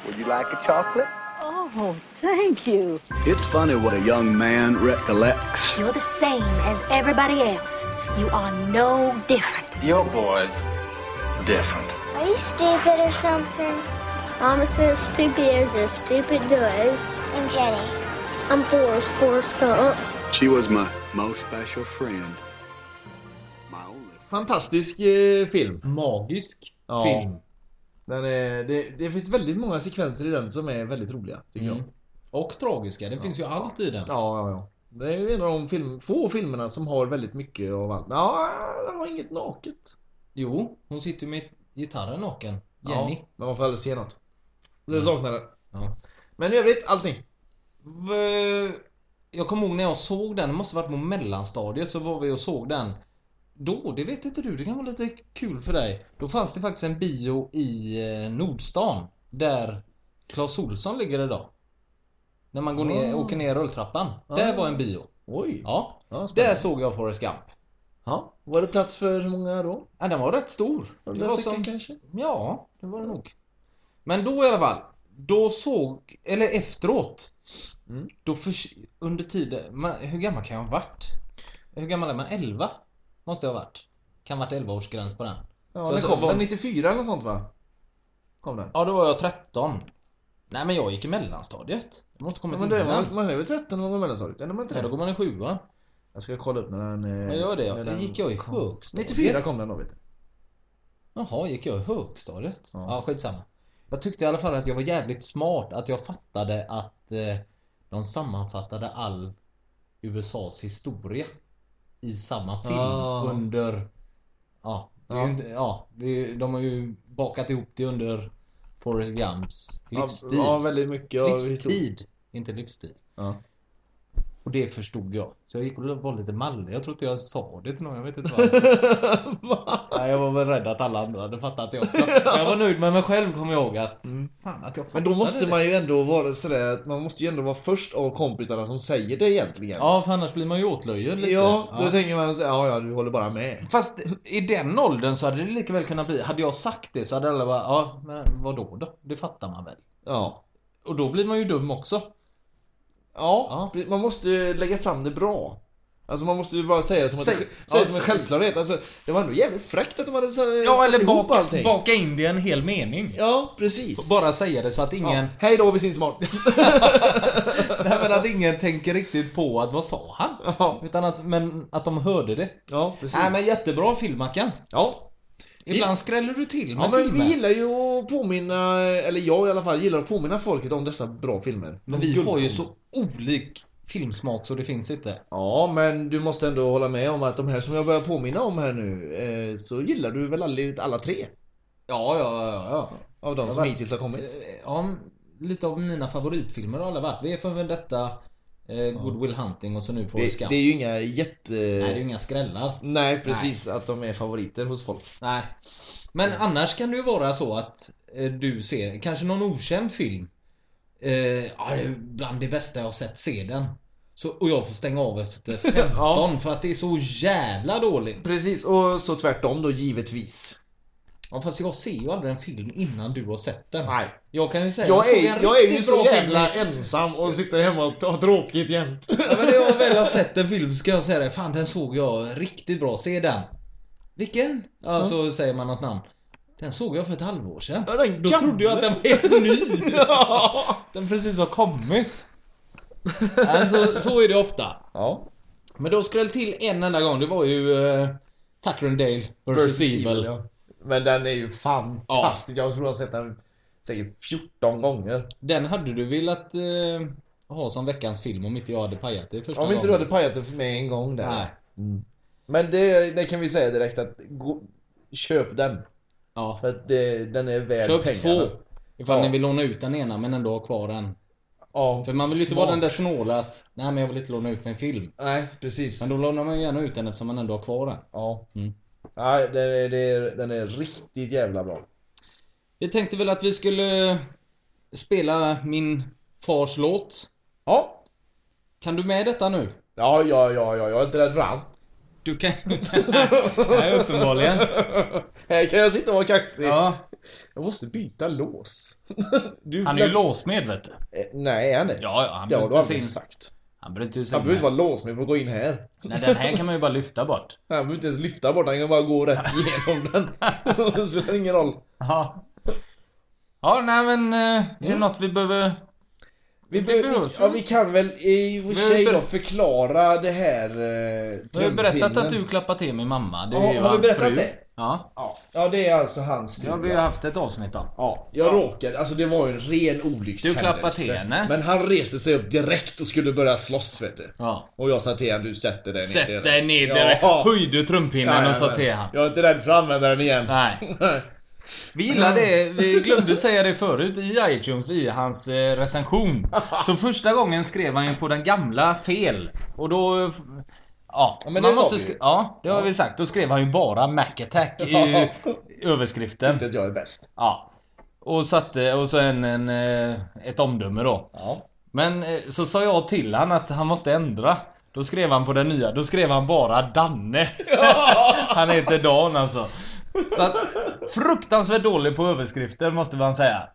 Speaker 10: Would you like a chocolate?
Speaker 11: Oh, thank you.
Speaker 10: It's funny what a young man recollects.
Speaker 11: You're the same as everybody else. You are no different.
Speaker 10: Your boy's different.
Speaker 12: Are you stupid or something? I'm as stupid as a stupid does. I'm Jenny. I'm Forrest Forrest Gump.
Speaker 10: She was my most special friend.
Speaker 7: Fantastisk eh, film.
Speaker 8: Magisk
Speaker 7: Ja.
Speaker 8: film.
Speaker 7: Den är, det, det finns väldigt många sekvenser i den som är väldigt roliga, tycker
Speaker 8: Mm.
Speaker 7: jag.
Speaker 8: Och tragiska. Det finns ju allt i den.
Speaker 7: Ja, ja, ja. Det är ju en av de film, få filmerna som har väldigt mycket av allt. Ja, den har inget naket.
Speaker 8: Jo, hon sitter ju med gitarren naken. Jenny.
Speaker 7: Ja, men man får aldrig se något. Det saknar den.
Speaker 8: Ja.
Speaker 7: Men i övrigt, allting.
Speaker 8: V- Jag kommer ihåg när jag såg den, det måste varit på mellanstadiet så var vi och såg den. Då, det vet inte du, det kan vara lite kul för dig. Då fanns det faktiskt en bio i eh, Nordstan. Där Clas Olsson ligger idag. När man går ner,
Speaker 7: Ah.
Speaker 8: åker ner rulltrappan. Där
Speaker 7: Ah.
Speaker 8: var en bio.
Speaker 7: Oj. Ja,
Speaker 8: Ja. Där
Speaker 7: spännande.
Speaker 8: såg jag Forrest Gump.
Speaker 7: ja. Var det plats för hur många då?
Speaker 8: Ja, den var rätt stor. Det
Speaker 7: Hundra
Speaker 8: var
Speaker 7: stycken
Speaker 8: som,
Speaker 7: kanske?
Speaker 8: ja, det var det nog. Men då i alla fall. Då såg, eller efteråt.
Speaker 7: Mm.
Speaker 8: Då förs- under tiden, man, hur gammal kan jag ha varit? Hur gammal är man? 11? Måste jag ha varit. Kan ha varit 11-årsgräns på den.
Speaker 7: Ja,
Speaker 8: Så
Speaker 7: den
Speaker 8: alltså,
Speaker 7: kom
Speaker 8: var-
Speaker 7: den 94 eller något sånt va? Kom den?
Speaker 8: Ja, då var jag 13. Nej men jag gick i mellanstadiet. Jag måste komma
Speaker 7: Ja,
Speaker 8: till
Speaker 7: men det
Speaker 8: innan.
Speaker 7: var, man är väl 13 när man går i mellanstadiet? Eller man inte
Speaker 8: Nej, då
Speaker 7: det?
Speaker 8: går man i sjuan.
Speaker 7: Jag ska kolla upp när den... eh,
Speaker 8: Jag gör det.
Speaker 7: när
Speaker 8: Jag,
Speaker 7: den
Speaker 8: gick jag i
Speaker 7: kom.
Speaker 8: högstadiet?
Speaker 7: 94 kom den då vet du.
Speaker 8: Jaha, gick jag i högstadiet?
Speaker 7: Ja.
Speaker 8: Ja. skitsamma. Jag tyckte i alla fall att jag var jävligt smart att jag fattade att eh, de sammanfattade all USAs historia i samma film
Speaker 7: Ah.
Speaker 8: under... Ja, det är
Speaker 7: Ja.
Speaker 8: ju inte, ja det är, de har ju bakat ihop det under Forrest Gumps livstid.
Speaker 7: Ja, väldigt mycket av historien.
Speaker 8: livstid, inte livstid.
Speaker 7: Ja.
Speaker 8: Och det förstod jag. Så jag gick och var lite mallig. Jag tror inte jag sa det till någon. Jag vet inte varför. Nej, jag var väl rädd att alla andra hade fattat det också. Men jag var nöjd med mig själv kommer jag ihåg att...
Speaker 7: Mm.
Speaker 8: Fan att jag
Speaker 7: Men då
Speaker 8: fattade
Speaker 7: måste
Speaker 8: det.
Speaker 7: man ju ändå vara sådär att man måste ju ändå vara först av kompisarna som säger det egentligen.
Speaker 8: Ja, för annars blir man ju åtlöjlig lite.
Speaker 7: ja då tänker man såhär, ja ja du håller bara med.
Speaker 8: Fast i den åldern så hade det lika väl kunnat bli. Hade jag sagt det så hade alla bara, ja men vadå då? Det fattar man väl.
Speaker 7: Ja.
Speaker 8: Och då blir man ju dum också.
Speaker 7: Ja, man måste ju lägga fram det bra. Alltså man måste ju bara säga det som,
Speaker 8: Säg-
Speaker 7: att,
Speaker 8: ja,
Speaker 7: säga som en
Speaker 8: s-
Speaker 7: självklarhet. Alltså, det var ändå jävligt fräckt att de hade så-
Speaker 8: Ja, eller
Speaker 7: satt ihop
Speaker 8: baka,
Speaker 7: allting.
Speaker 8: baka in det i en hel mening.
Speaker 7: Ja, precis.
Speaker 8: Bara säga det så att ingen...
Speaker 7: Ja. Hej då, vi syns imorgon.
Speaker 8: Nej men att ingen tänker riktigt på att vad sa han?
Speaker 7: ja,
Speaker 8: Utan att, men att de hörde det.
Speaker 7: ja, precis.
Speaker 8: Nej men jättebra film Mackan.
Speaker 7: ja.
Speaker 8: Ibland skräller du till med
Speaker 7: Ja, men vi
Speaker 8: filmer.
Speaker 7: gillar ju att påminna, eller jag i alla fall, gillar att påminna folket om dessa bra filmer.
Speaker 8: Men
Speaker 7: De
Speaker 8: vi har ju
Speaker 7: guldkorn.
Speaker 8: så olik filmsmak så det finns inte.
Speaker 7: Ja, men du måste ändå hålla med om att de här som jag börjar påminna om här nu, eh, så gillar du väl alla, alla tre?
Speaker 8: Ja, ja, ja, ja.
Speaker 7: Av de
Speaker 8: Ja,
Speaker 7: som
Speaker 8: va-
Speaker 7: hittills har kommit.
Speaker 8: ja lite av mina favoritfilmer har alla varit. Vi är för detta, eh, Good Will Hunting och så nu Forrest
Speaker 7: Det,
Speaker 8: Gump.
Speaker 7: det är
Speaker 8: Nej,
Speaker 7: ju inga jätte...
Speaker 8: det är ju inga skrällar.
Speaker 7: Nej, precis. Att de är favoriter hos folk.
Speaker 8: Nej. Men
Speaker 7: Mm.
Speaker 8: annars kan det ju vara så att eh, du ser kanske någon okänd film. Eh, ja, det är bland det bästa jag har sett, se den. Så, och jag får stänga av efter 15
Speaker 7: Ja.
Speaker 8: för att det är så jävla dåligt.
Speaker 7: Precis, och så tvärtom då, givetvis.
Speaker 8: Ja, fast jag ser ju aldrig en film innan du har sett den.
Speaker 7: Nej.
Speaker 8: Jag kan ju säga
Speaker 7: Jag
Speaker 8: såg
Speaker 7: är,
Speaker 8: en
Speaker 7: jag är ju
Speaker 8: riktigt
Speaker 7: så
Speaker 8: bra film
Speaker 7: jävla
Speaker 8: i-
Speaker 7: ensam och sitter hemma och har tråkigt jämt.
Speaker 8: Ja, men när jag väl har sett en film ska jag säga det. Fan den såg jag riktigt bra. Se den. Vilken? Ja, så säger man något namn. Den såg jag för ett halvår sedan.
Speaker 7: Ja, den
Speaker 8: Då
Speaker 7: gamla.
Speaker 8: trodde jag att den var helt ny. Den precis har kommit. Alltså, så är det ofta.
Speaker 7: Ja.
Speaker 8: Men då skräll till en enda gång. Det var ju eh, Tucker and Dale vs. Evil. ja.
Speaker 7: Men den är ju fantastisk. Jag tror jag har sett den säkert 14 gånger.
Speaker 8: Den hade du velat eh, ha som veckans film om inte jag hade pajat det första
Speaker 7: Om inte du hade
Speaker 8: gången.
Speaker 7: pajat den för mig en gång där. Mm.
Speaker 8: Nej.
Speaker 7: Men det, det kan vi säga direkt att gå, köp den.
Speaker 8: Ja.
Speaker 7: För att det, den är värd
Speaker 8: Köp
Speaker 7: pengarna.
Speaker 8: två. Ifall
Speaker 7: Ja.
Speaker 8: ni vill låna ut den ena men ändå ha kvar den.
Speaker 7: Ja,
Speaker 8: För man vill ju inte
Speaker 7: smart.
Speaker 8: vara den där snåla att Nej men jag vill inte låna ut en film.
Speaker 7: Nej, precis.
Speaker 8: Men då lånar man ju gärna ut den eftersom man ändå har kvar den.
Speaker 7: Ja.
Speaker 8: Mm.
Speaker 7: Nej, den är, den är, den är riktigt jävla bra.
Speaker 8: Vi tänkte väl att vi skulle eh, spela min fars låt.
Speaker 7: Ja.
Speaker 8: Kan du med detta nu?
Speaker 7: Ja, ja, ja, ja. Jag är inte rädd för han.
Speaker 8: Du kan Nej, uppenbarligen.
Speaker 7: Här kan jag sitta och vara kaxig.
Speaker 8: Ja.
Speaker 7: Jag måste byta lås. Du-
Speaker 13: Han är ju låsmed vet du.
Speaker 7: Eh, Nej, han är
Speaker 13: Ja, ja, han
Speaker 7: Det har du
Speaker 13: bryter
Speaker 7: aldrig
Speaker 13: sig in.
Speaker 7: sagt.
Speaker 13: Han behöver inte
Speaker 7: Han behöver inte vara låst, men får gå in här.
Speaker 13: Nej, den här kan man ju bara lyfta bort.
Speaker 7: Han behöver inte ens lyfta bort den, han kan bara gå rätt igenom den. Det spelar ingen roll.
Speaker 8: Ja. Ja, nej men eh, är det något vi behöver...
Speaker 7: Vi, be- vi, ja, vi kan väl i och för
Speaker 8: Vi
Speaker 7: sig
Speaker 8: ber-
Speaker 7: då förklara det här eh,
Speaker 8: Vi har ju berättat
Speaker 7: trumpinnen.
Speaker 8: att du klappar till min mamma. Det är
Speaker 7: Ja,
Speaker 8: ju
Speaker 7: har vi
Speaker 8: hans
Speaker 7: berättat
Speaker 8: fru.
Speaker 7: det?
Speaker 8: Ja.
Speaker 7: Ja, det är alltså hans fru.
Speaker 8: Det har vi ju haft ett avsnitt om.
Speaker 7: Ja, jag råkade, alltså det var ju en ren olyckshändelse.
Speaker 8: Du klappade till henne.
Speaker 7: Men han reste sig upp direkt och skulle börja slåss vet du.
Speaker 8: Ja.
Speaker 7: Och jag sa till honom, du sätter dig ner
Speaker 8: Sätt
Speaker 7: direkt."
Speaker 8: dig ner direkt. Höjde trumpinnen och sa
Speaker 7: men
Speaker 8: till han.
Speaker 7: Jag är inte rädd för att använda den igen.
Speaker 8: Nej. Vi gillar det, vi glömde säga det förut i iTunes i hans eh, recension. Så första gången skrev han ju på den gamla fel. Och då... eh, f- Ja,
Speaker 7: men
Speaker 8: man
Speaker 7: det sa
Speaker 8: måste
Speaker 7: vi ju.
Speaker 8: sk- Ja, det har vi sagt. Då skrev han ju bara Mac Attack i överskriften. Inte
Speaker 7: att jag är bäst.
Speaker 8: Ja. Och satte, och så en, en, eh, ett omdöme då. Men eh, så sa jag till han att han måste ändra. Då skrev han på den nya, då skrev han bara Danne. han heter Dan alltså. Så att, fruktansvärt dålig på överskrifter måste man säga.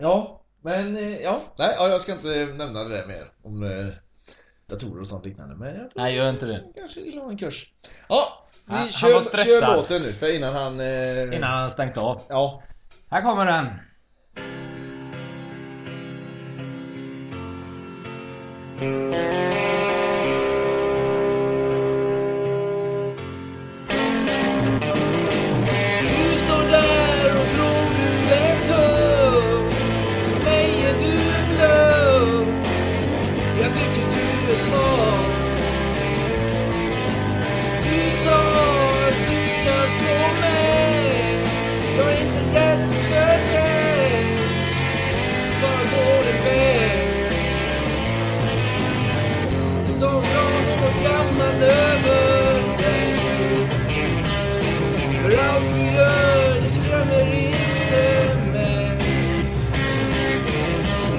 Speaker 7: Ja, men eh, ja. Nej, ja, jag ska inte nämna det där mer. Om eh, datorer och sånt liknande. Men jag
Speaker 8: Nej, gör inte det.
Speaker 7: kanske vill ha en kurs. Ja, vi
Speaker 8: Han- han var
Speaker 7: kör,
Speaker 8: stressad.
Speaker 7: kör låten nu för innan han... Eh,
Speaker 8: Innan han stängt av.
Speaker 7: Ja.
Speaker 8: Här kommer den.
Speaker 9: Du står där och tror du är tuff Nej, du är bluff Jag tycker du är svag Du sa att du ska slå mig Jag är inte rädd för dig Du bara går en väg Du tar fram något gammalt över dig för allt du gör, det skrämmer inte mig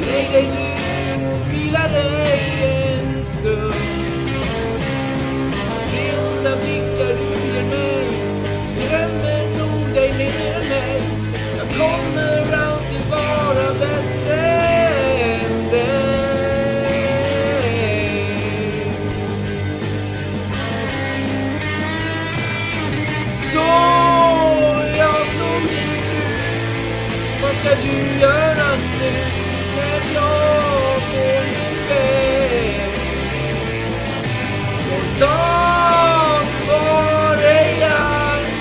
Speaker 9: Lägg dig nu och vila dig en stund De onda blickar du ger mig skrämmer nog dig mer än mig Jag kommer alltid vara bättre än dig Så jag slog dig Vad ska du göra nu när jag går min väg? Så Dan var ej arg.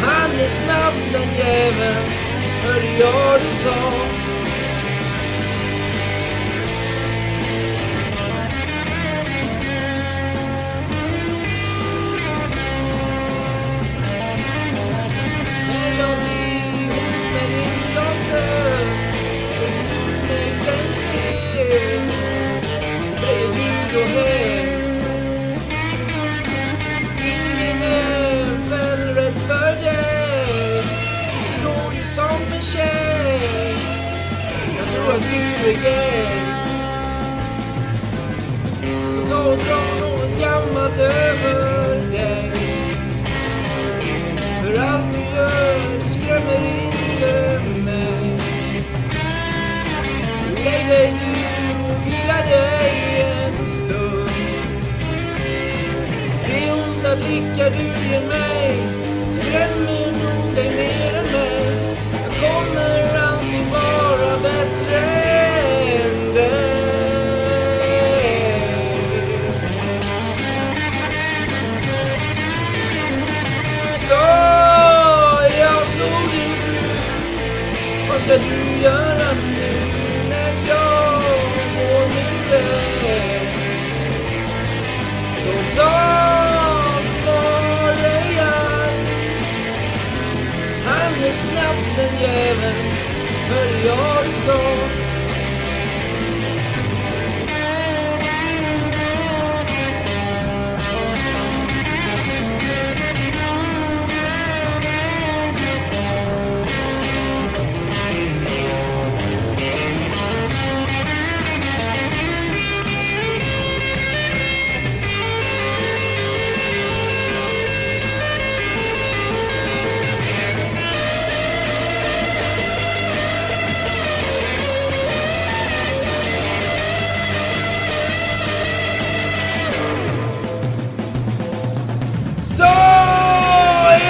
Speaker 9: Han är snabb den jäveln, hörde jag du sa När jag blir ihop med din dotter och du mig sen ser säger du då hej Ingen är väl rädd för dig Du slår ju som en tjej Jag tror att du är gay Så ta och dra något gammalt över dig för allt du gör skrämmer inte mig Lägg dig nu och vila dig en stund De onda blickar du ger mig skrämmer nog dig mer än mig Jag kommer alltid vara bättre än dig så jag slog din fru Vad ska du göra nu när jag går min väg? Så ta var dig an henne snabbt den jäveln, hör jag det så. Så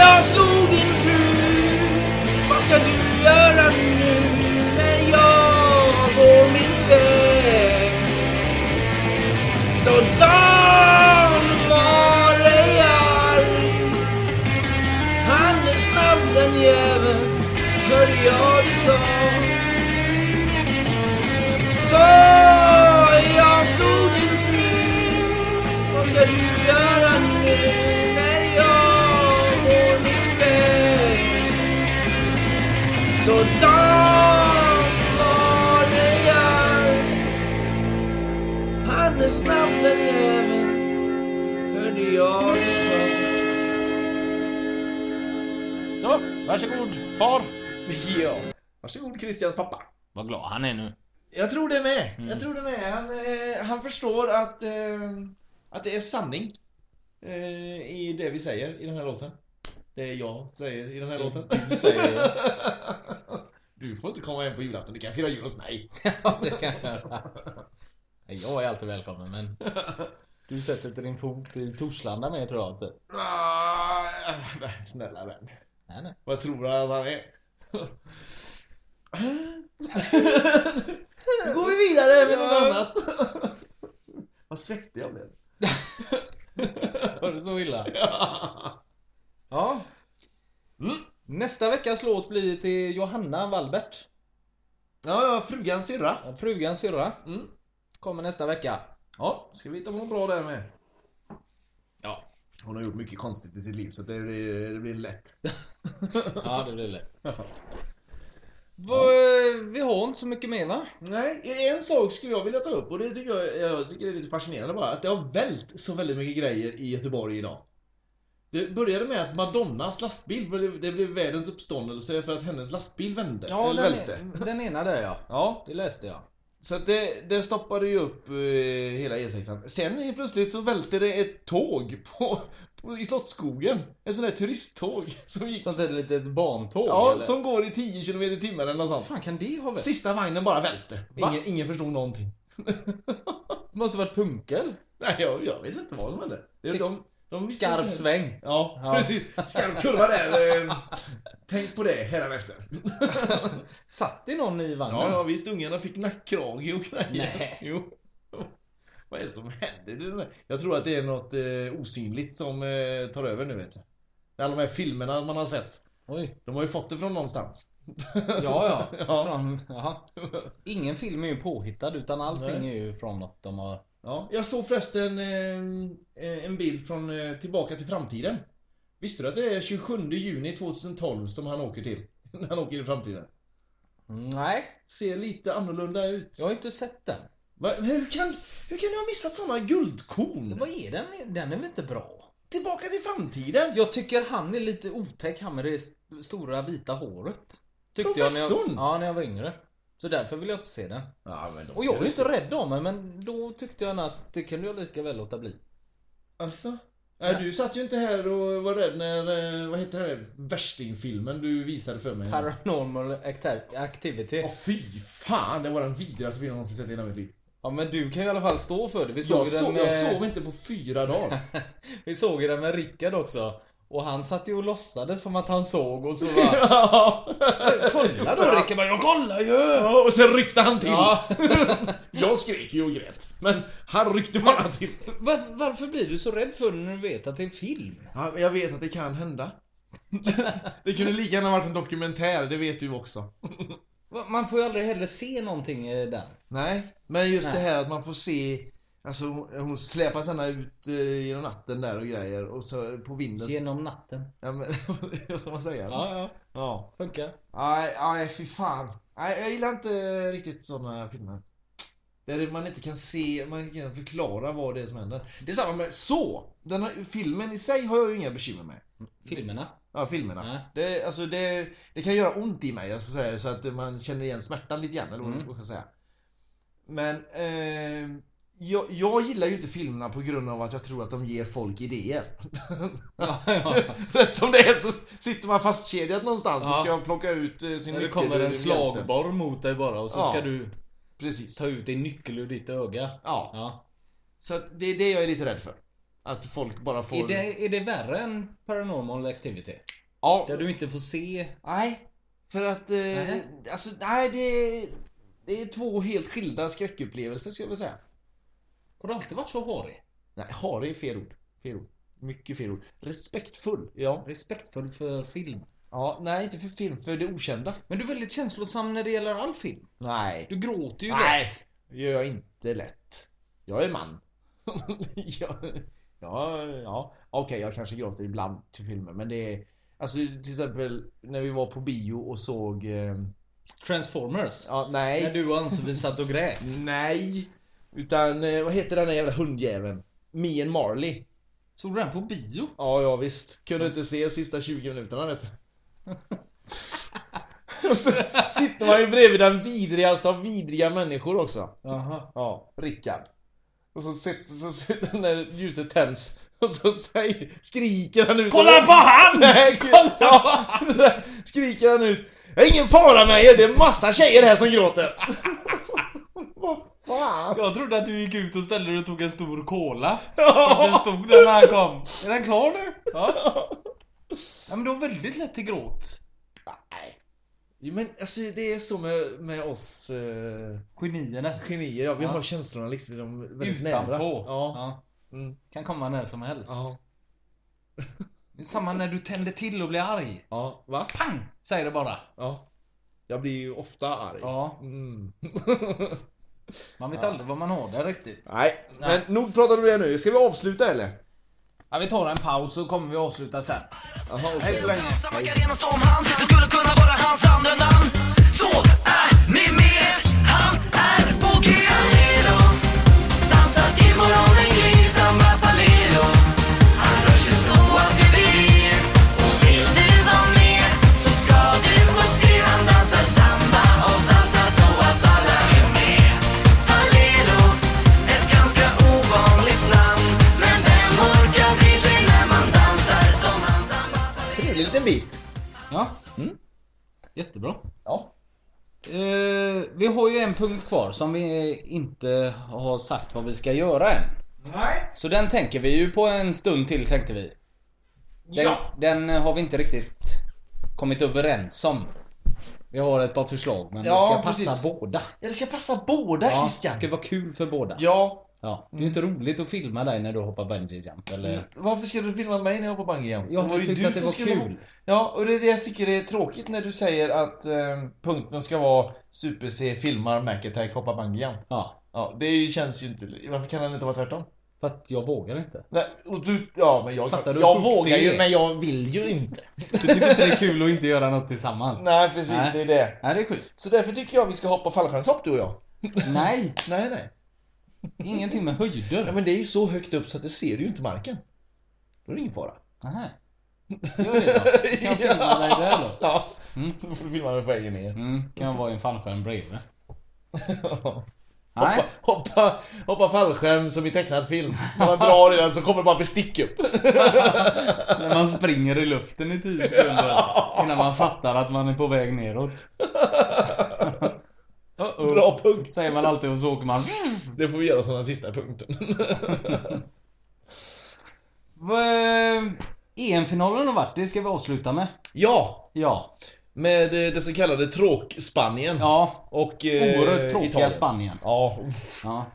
Speaker 9: jag slog din fru Vad ska du göra nu när jag går min väg? Så Dan var ej arg Han är snabb den jäveln, hör jag du sa Så jag slog din fru vad ska du göra nu när jag går min väg? Så Dan var det jag Han är snabb men jäveln hörde jag det sa
Speaker 8: Så, varsågod far.
Speaker 7: Ja. Varsågod Christians pappa.
Speaker 14: Vad glad han är nu.
Speaker 7: Jag tror det med.
Speaker 8: Mm.
Speaker 7: Jag tror det med. Han, eh, han förstår att, eh, att det är sanning eh, i det vi säger i den här låten. Det är jag säger i den här låten.
Speaker 8: du säger det.
Speaker 7: Du får inte komma hem på julafton. Du kan fira jul hos mig.
Speaker 8: Det kan jag göra. Nej, Jag är alltid välkommen men... Du sätter inte din fot i Torslanda med tror jag inte.
Speaker 7: Ah, men Snälla vän.
Speaker 8: Nej, nej.
Speaker 7: Vad tror du att han är?
Speaker 9: Nu går vi vidare med något
Speaker 7: Ja.
Speaker 9: annat.
Speaker 7: Vad svettig jag blev.
Speaker 8: Var det så illa? Ja. Nästa veckas låt blir till Johanna Walbert.
Speaker 7: Ja, ja, frugans syrra.
Speaker 8: Frugans syrra.
Speaker 7: Mm.
Speaker 8: Kommer nästa vecka.
Speaker 7: Ja, ska vi hitta på något bra där med. Ja, hon har gjort mycket konstigt i sitt liv så det blir, det blir lätt.
Speaker 8: Ja, det blir lätt.
Speaker 7: Ja.
Speaker 8: Vad- Vi har inte så mycket mer va?
Speaker 7: Nej, en sak skulle jag vilja ta upp och det tycker jag, jag tycker det är lite fascinerande bara. Att det har vält så väldigt mycket grejer i Göteborg idag. Det började med att Madonnas lastbil, blev- det blev världens uppståndelse för att hennes lastbil vände.
Speaker 8: Ja,
Speaker 7: eller
Speaker 8: den,
Speaker 7: välte.
Speaker 8: den ena där ja.
Speaker 7: Ja.
Speaker 8: Det läste jag.
Speaker 7: Så att det, det stoppade ju upp eh, hela E6an. Sen helt plötsligt så välte det ett tåg på, på, i Slottsskogen. Ett sånt där turisttåg som gick...
Speaker 8: Sånt där litet bantåg
Speaker 7: ja,
Speaker 8: eller?
Speaker 7: som går i 10 km i timmen eller något
Speaker 8: Vad
Speaker 7: sånt.
Speaker 8: fan kan det ha varit?
Speaker 7: Sista vagnen bara välte.
Speaker 8: Va?
Speaker 7: Ingen, ingen förstod någonting.
Speaker 8: Måste varit punkel?
Speaker 7: Nej, jag, jag vet inte vad som hände. Det-
Speaker 8: Fick-
Speaker 7: De, de visste
Speaker 8: Skarp
Speaker 7: inte.
Speaker 8: sväng.
Speaker 7: Ja,
Speaker 8: Ja.
Speaker 7: precis. Skarp kurva där. eh, Tänk på det hädanefter.
Speaker 8: Satt det någon i vagnen?
Speaker 7: Ja, ja visst. Ungarna fick nackkrage och grejer.
Speaker 8: Nej.
Speaker 7: Jo. Vad är det som händer? Det är det där. Jag tror att det är något eh, osynligt som eh, tar över nu vet du. Alla de här filmerna man har sett.
Speaker 8: Oj.
Speaker 7: De har ju fått det från någonstans.
Speaker 8: Ja, ja.
Speaker 7: Ja.
Speaker 8: Från, jaha. Ingen film är ju påhittad utan allting
Speaker 7: Nej.
Speaker 8: är ju från något de har...
Speaker 7: Ja, jag såg förresten eh, en bild från eh, Tillbaka till framtiden. Visste du att det är 27 juni 2012 som han åker till? När han åker i framtiden.
Speaker 8: Nej,
Speaker 7: Ser lite annorlunda ut.
Speaker 8: jag har inte sett den.
Speaker 7: Va, hur, kan, hur kan du ha missat sådana guldkorn?
Speaker 8: Vad är den? Den är väl inte bra?
Speaker 7: Tillbaka till framtiden?
Speaker 8: Jag tycker han är lite otäck, han med det st- stora vita håret. Tyckte Jag när
Speaker 7: Professorn?
Speaker 8: jag, ja, när jag var yngre. Så därför vill jag inte se den.
Speaker 7: Ja, men de
Speaker 8: Och jag är ju inte rädd om mig, men då tyckte jag att det kunde jag lika väl låta bli.
Speaker 7: Alltså? Nej, du satt ju inte här och var rädd när, eh, vad heter det, värstingfilmen du visade för mig.
Speaker 8: Paranormal acti- activity.
Speaker 7: Åh fy fan, det var den vidrigaste filmen jag någonsin sett i hela mitt liv.
Speaker 8: Ja men du kan ju i alla fall stå för det. Vi såg,
Speaker 7: Jag,
Speaker 8: ju
Speaker 7: sov-
Speaker 8: den, eh,
Speaker 7: jag
Speaker 8: med-
Speaker 7: sov inte på fyra dagar.
Speaker 8: Vi såg ju den med Rickard också. Och han satt ju och låtsades som att han såg och så bara
Speaker 7: Ja.
Speaker 8: Kolla då Rickard bara, jag kollar ju!
Speaker 7: Ja, och sen ryckte han till.
Speaker 8: Ja.
Speaker 7: jag skrek ju och grät. Men han ryckte bara till.
Speaker 8: Var, varför blir du så rädd för den när du vet att det är en film?
Speaker 7: Ja, men jag vet att det kan hända. det kunde lika gärna varit en dokumentär, det vet du också.
Speaker 8: Va- Man får ju aldrig heller se någonting i den.
Speaker 7: Nej, men just
Speaker 8: Nej.
Speaker 7: det här att man får se Alltså hon, hon släpas ända ut eh, genom natten där och grejer och så på vinden.
Speaker 8: Genom natten.
Speaker 7: Ja men, vad ska man säga?
Speaker 8: Ja, ja.
Speaker 7: ja.
Speaker 8: Funkar.
Speaker 7: Nej, nej fy fan. Nej, jag gillar inte riktigt sådana filmer. Där man inte kan se, man inte kan förklara vad det är som händer. Det är samma med så! Den här, filmen i sig har jag ju inga bekymmer med.
Speaker 8: Filmerna.
Speaker 7: Ja, filmerna. Det, alltså, det, det kan göra ont i mig, alltså, så, här, så att man känner igen smärtan lite grann, eller vad
Speaker 8: Mm.
Speaker 7: man ska säga. Men eh, jag, jag gillar ju inte filmerna på grund av att jag tror att de ger folk idéer. Rätt som det är så sitter man fastkedjat någonstans och
Speaker 8: Ja.
Speaker 7: ska plocka ut eh, sin
Speaker 8: När det
Speaker 7: nyckel
Speaker 8: kommer
Speaker 7: ur
Speaker 8: en
Speaker 7: mjälten.
Speaker 8: slagborr mot dig bara och så
Speaker 7: Ja.
Speaker 8: ska du
Speaker 7: Precis.
Speaker 8: ta ut din nyckel ur ditt öga.
Speaker 7: Ja. Så att det är det jag är lite rädd för. Att folk bara får...
Speaker 8: Är, det, är det värre än Paranormal Activity?
Speaker 7: Ja.
Speaker 8: Där du inte får se...
Speaker 7: Nej, för att... Eh,
Speaker 8: Nej.
Speaker 7: Alltså, nej det... Det är två helt skilda skräckupplevelser ska jag väl säga.
Speaker 8: Har du alltid varit så harig?
Speaker 7: Nej, harig är fel ord. Fel ord. Mycket fel ord. Respektfull. Ja.
Speaker 8: Respektfull för film.
Speaker 7: Ja, nej inte för film, för det okända.
Speaker 8: Men du är väldigt känslosam när det gäller all film.
Speaker 7: Nej.
Speaker 8: Du gråter ju
Speaker 7: Nej.
Speaker 8: lätt.
Speaker 7: Det gör jag inte lätt. Jag är man. ja, ja, ja. Okej, jag kanske gråter ibland till filmer, men det är... Alltså till exempel när vi var på bio och såg... Eh,
Speaker 8: Transformers.
Speaker 7: ja, nej.
Speaker 8: När du och Ann-Sofie satt och grät.
Speaker 7: Nej! Utan eh, vad heter den där jävla hundjäveln? Mean Marley.
Speaker 8: Såg du den på bio?
Speaker 7: Ja, ja visst. Kunde inte se sista 20 minuterna vet du. Och så sitter man ju bredvid den vidrigaste av vidriga människor också.
Speaker 8: Jaha.
Speaker 7: Ja, Rickard. Och så sitter, så sitter när ljuset tänds och så säger, skriker han ut
Speaker 8: Kolla på han!
Speaker 7: Nej, kolla Skriker han ut "Det är Ingen fara med er, det är massa tjejer här som gråter! Vad fan?
Speaker 8: Jag trodde att du gick ut och ställde dig och tog en stor cola.
Speaker 7: Ja.
Speaker 8: Som det stod där när han kom. Är den klar nu? Ja. ja men du har väldigt lätt till gråt.
Speaker 7: Nej. Jo, Men alltså det är så med, med oss eh,
Speaker 8: Genierna.
Speaker 7: genier, ja, vi
Speaker 8: Ja.
Speaker 7: har känslorna liksom de är väldigt
Speaker 8: Utanpå.
Speaker 7: nära. Ja. Mm.
Speaker 8: Kan komma när som helst.
Speaker 7: Ja.
Speaker 8: Det är samma när du tänder till och blir arg.
Speaker 7: ja, va?
Speaker 8: Pang! Säger det bara.
Speaker 7: Ja. Jag blir ju ofta arg.
Speaker 8: Ja.
Speaker 7: Mm.
Speaker 8: Man vet aldrig vad man har där riktigt.
Speaker 7: Nej, men nog pratar om det nu. Ska vi avsluta eller?
Speaker 8: Ja, vi tar en paus så kommer vi avsluta sen.
Speaker 7: Jaha, okej.
Speaker 8: Hej så länge.
Speaker 15: Macarena som han Det skulle kunna vara hans andra namn Så är ni med Han är Boogie Han är då Dansar till morgonen gry Samba Palero Han rör sig så att det blir Och vill du vara med Så ska du få se Han dansar samba och salsa Så att alla är med Palero Ett ganska ovanligt namn Men vem orkar bry sig när man dansar som han samba
Speaker 7: Trevlig liten bit.
Speaker 8: Ja. Mm. Jättebra.
Speaker 7: Ja.
Speaker 8: Eh, vi har ju en punkt kvar som vi inte har sagt vad vi ska göra än.
Speaker 7: Nej.
Speaker 8: Så den tänker vi ju på en stund till tänkte vi. Den,
Speaker 7: Ja.
Speaker 8: den har vi inte riktigt kommit överens om. Vi har ett par förslag men
Speaker 7: Ja,
Speaker 8: det ska passa
Speaker 7: precis.
Speaker 8: båda.
Speaker 7: Ja, det ska passa båda
Speaker 8: ja,
Speaker 7: Christian.
Speaker 8: Det ska vara kul för båda.
Speaker 7: Ja. Mm.
Speaker 8: Ja, Det är ju inte roligt att filma dig när du hoppar bungee jump eller...
Speaker 7: Varför ska du filma mig när jag hoppar bungee jump?
Speaker 8: Jag
Speaker 7: Mm. Det var
Speaker 8: hade
Speaker 7: ju
Speaker 8: tyckt
Speaker 7: du
Speaker 8: att det
Speaker 7: som
Speaker 8: var
Speaker 7: skulle
Speaker 8: kul.
Speaker 7: Ja, och det är det jag tycker är tråkigt när du säger att eh, punkten ska vara Super-C filmar Mac Attack hoppar bungyjump.
Speaker 8: Ja,
Speaker 7: Ja, det känns ju inte... Varför kan den inte vara tvärtom?
Speaker 8: för att jag vågar inte.
Speaker 7: Nej, och du... Ja, men jag...
Speaker 8: Fattar du
Speaker 7: jag
Speaker 8: hur sjukt
Speaker 7: vågar
Speaker 8: det
Speaker 7: ju,
Speaker 8: är?
Speaker 7: men jag vill ju inte.
Speaker 8: Du tycker inte det är kul att inte göra något tillsammans?
Speaker 7: Nej, precis.
Speaker 8: Nej.
Speaker 7: Det är det.
Speaker 8: Nej, det är schysst.
Speaker 7: Så därför tycker jag vi ska hoppa fallskärmshopp, du och jag.
Speaker 8: Nej,
Speaker 7: Nej, nej.
Speaker 8: ingenting med
Speaker 7: Ja,
Speaker 8: höjder.
Speaker 7: men det är ju så högt upp så att det ser ju inte marken. Då är det ingen fara.
Speaker 8: Nej. Gör det då. Kan jag filma dig där då?
Speaker 7: Ja.
Speaker 8: Mm.
Speaker 7: Då får du filma mig på vägen ner.
Speaker 8: Mm, kan jag vara i en fallskärm bredvid. Nej.
Speaker 7: hoppa, hoppa, hoppa fallskärm som i tecknad film. När man drar i den så kommer det bara bli stick upp.
Speaker 8: När man springer i luften i 10 sekunder innan man fattar att man är på väg neråt. Uh-oh.
Speaker 7: Bra punkt.
Speaker 8: Säger man alltid och så åker man.
Speaker 7: Det får vi göra som den sista punkten.
Speaker 8: Vad- Eh, EM-finalen har varit, det ska vi avsluta med.
Speaker 7: ja!
Speaker 8: Ja.
Speaker 7: Med eh, det så kallade tråk-Spanien.
Speaker 8: Ja.
Speaker 7: Och eh,
Speaker 8: Oerhört tråkiga
Speaker 7: Italien.
Speaker 8: Spanien.
Speaker 7: Ja,
Speaker 8: Ja.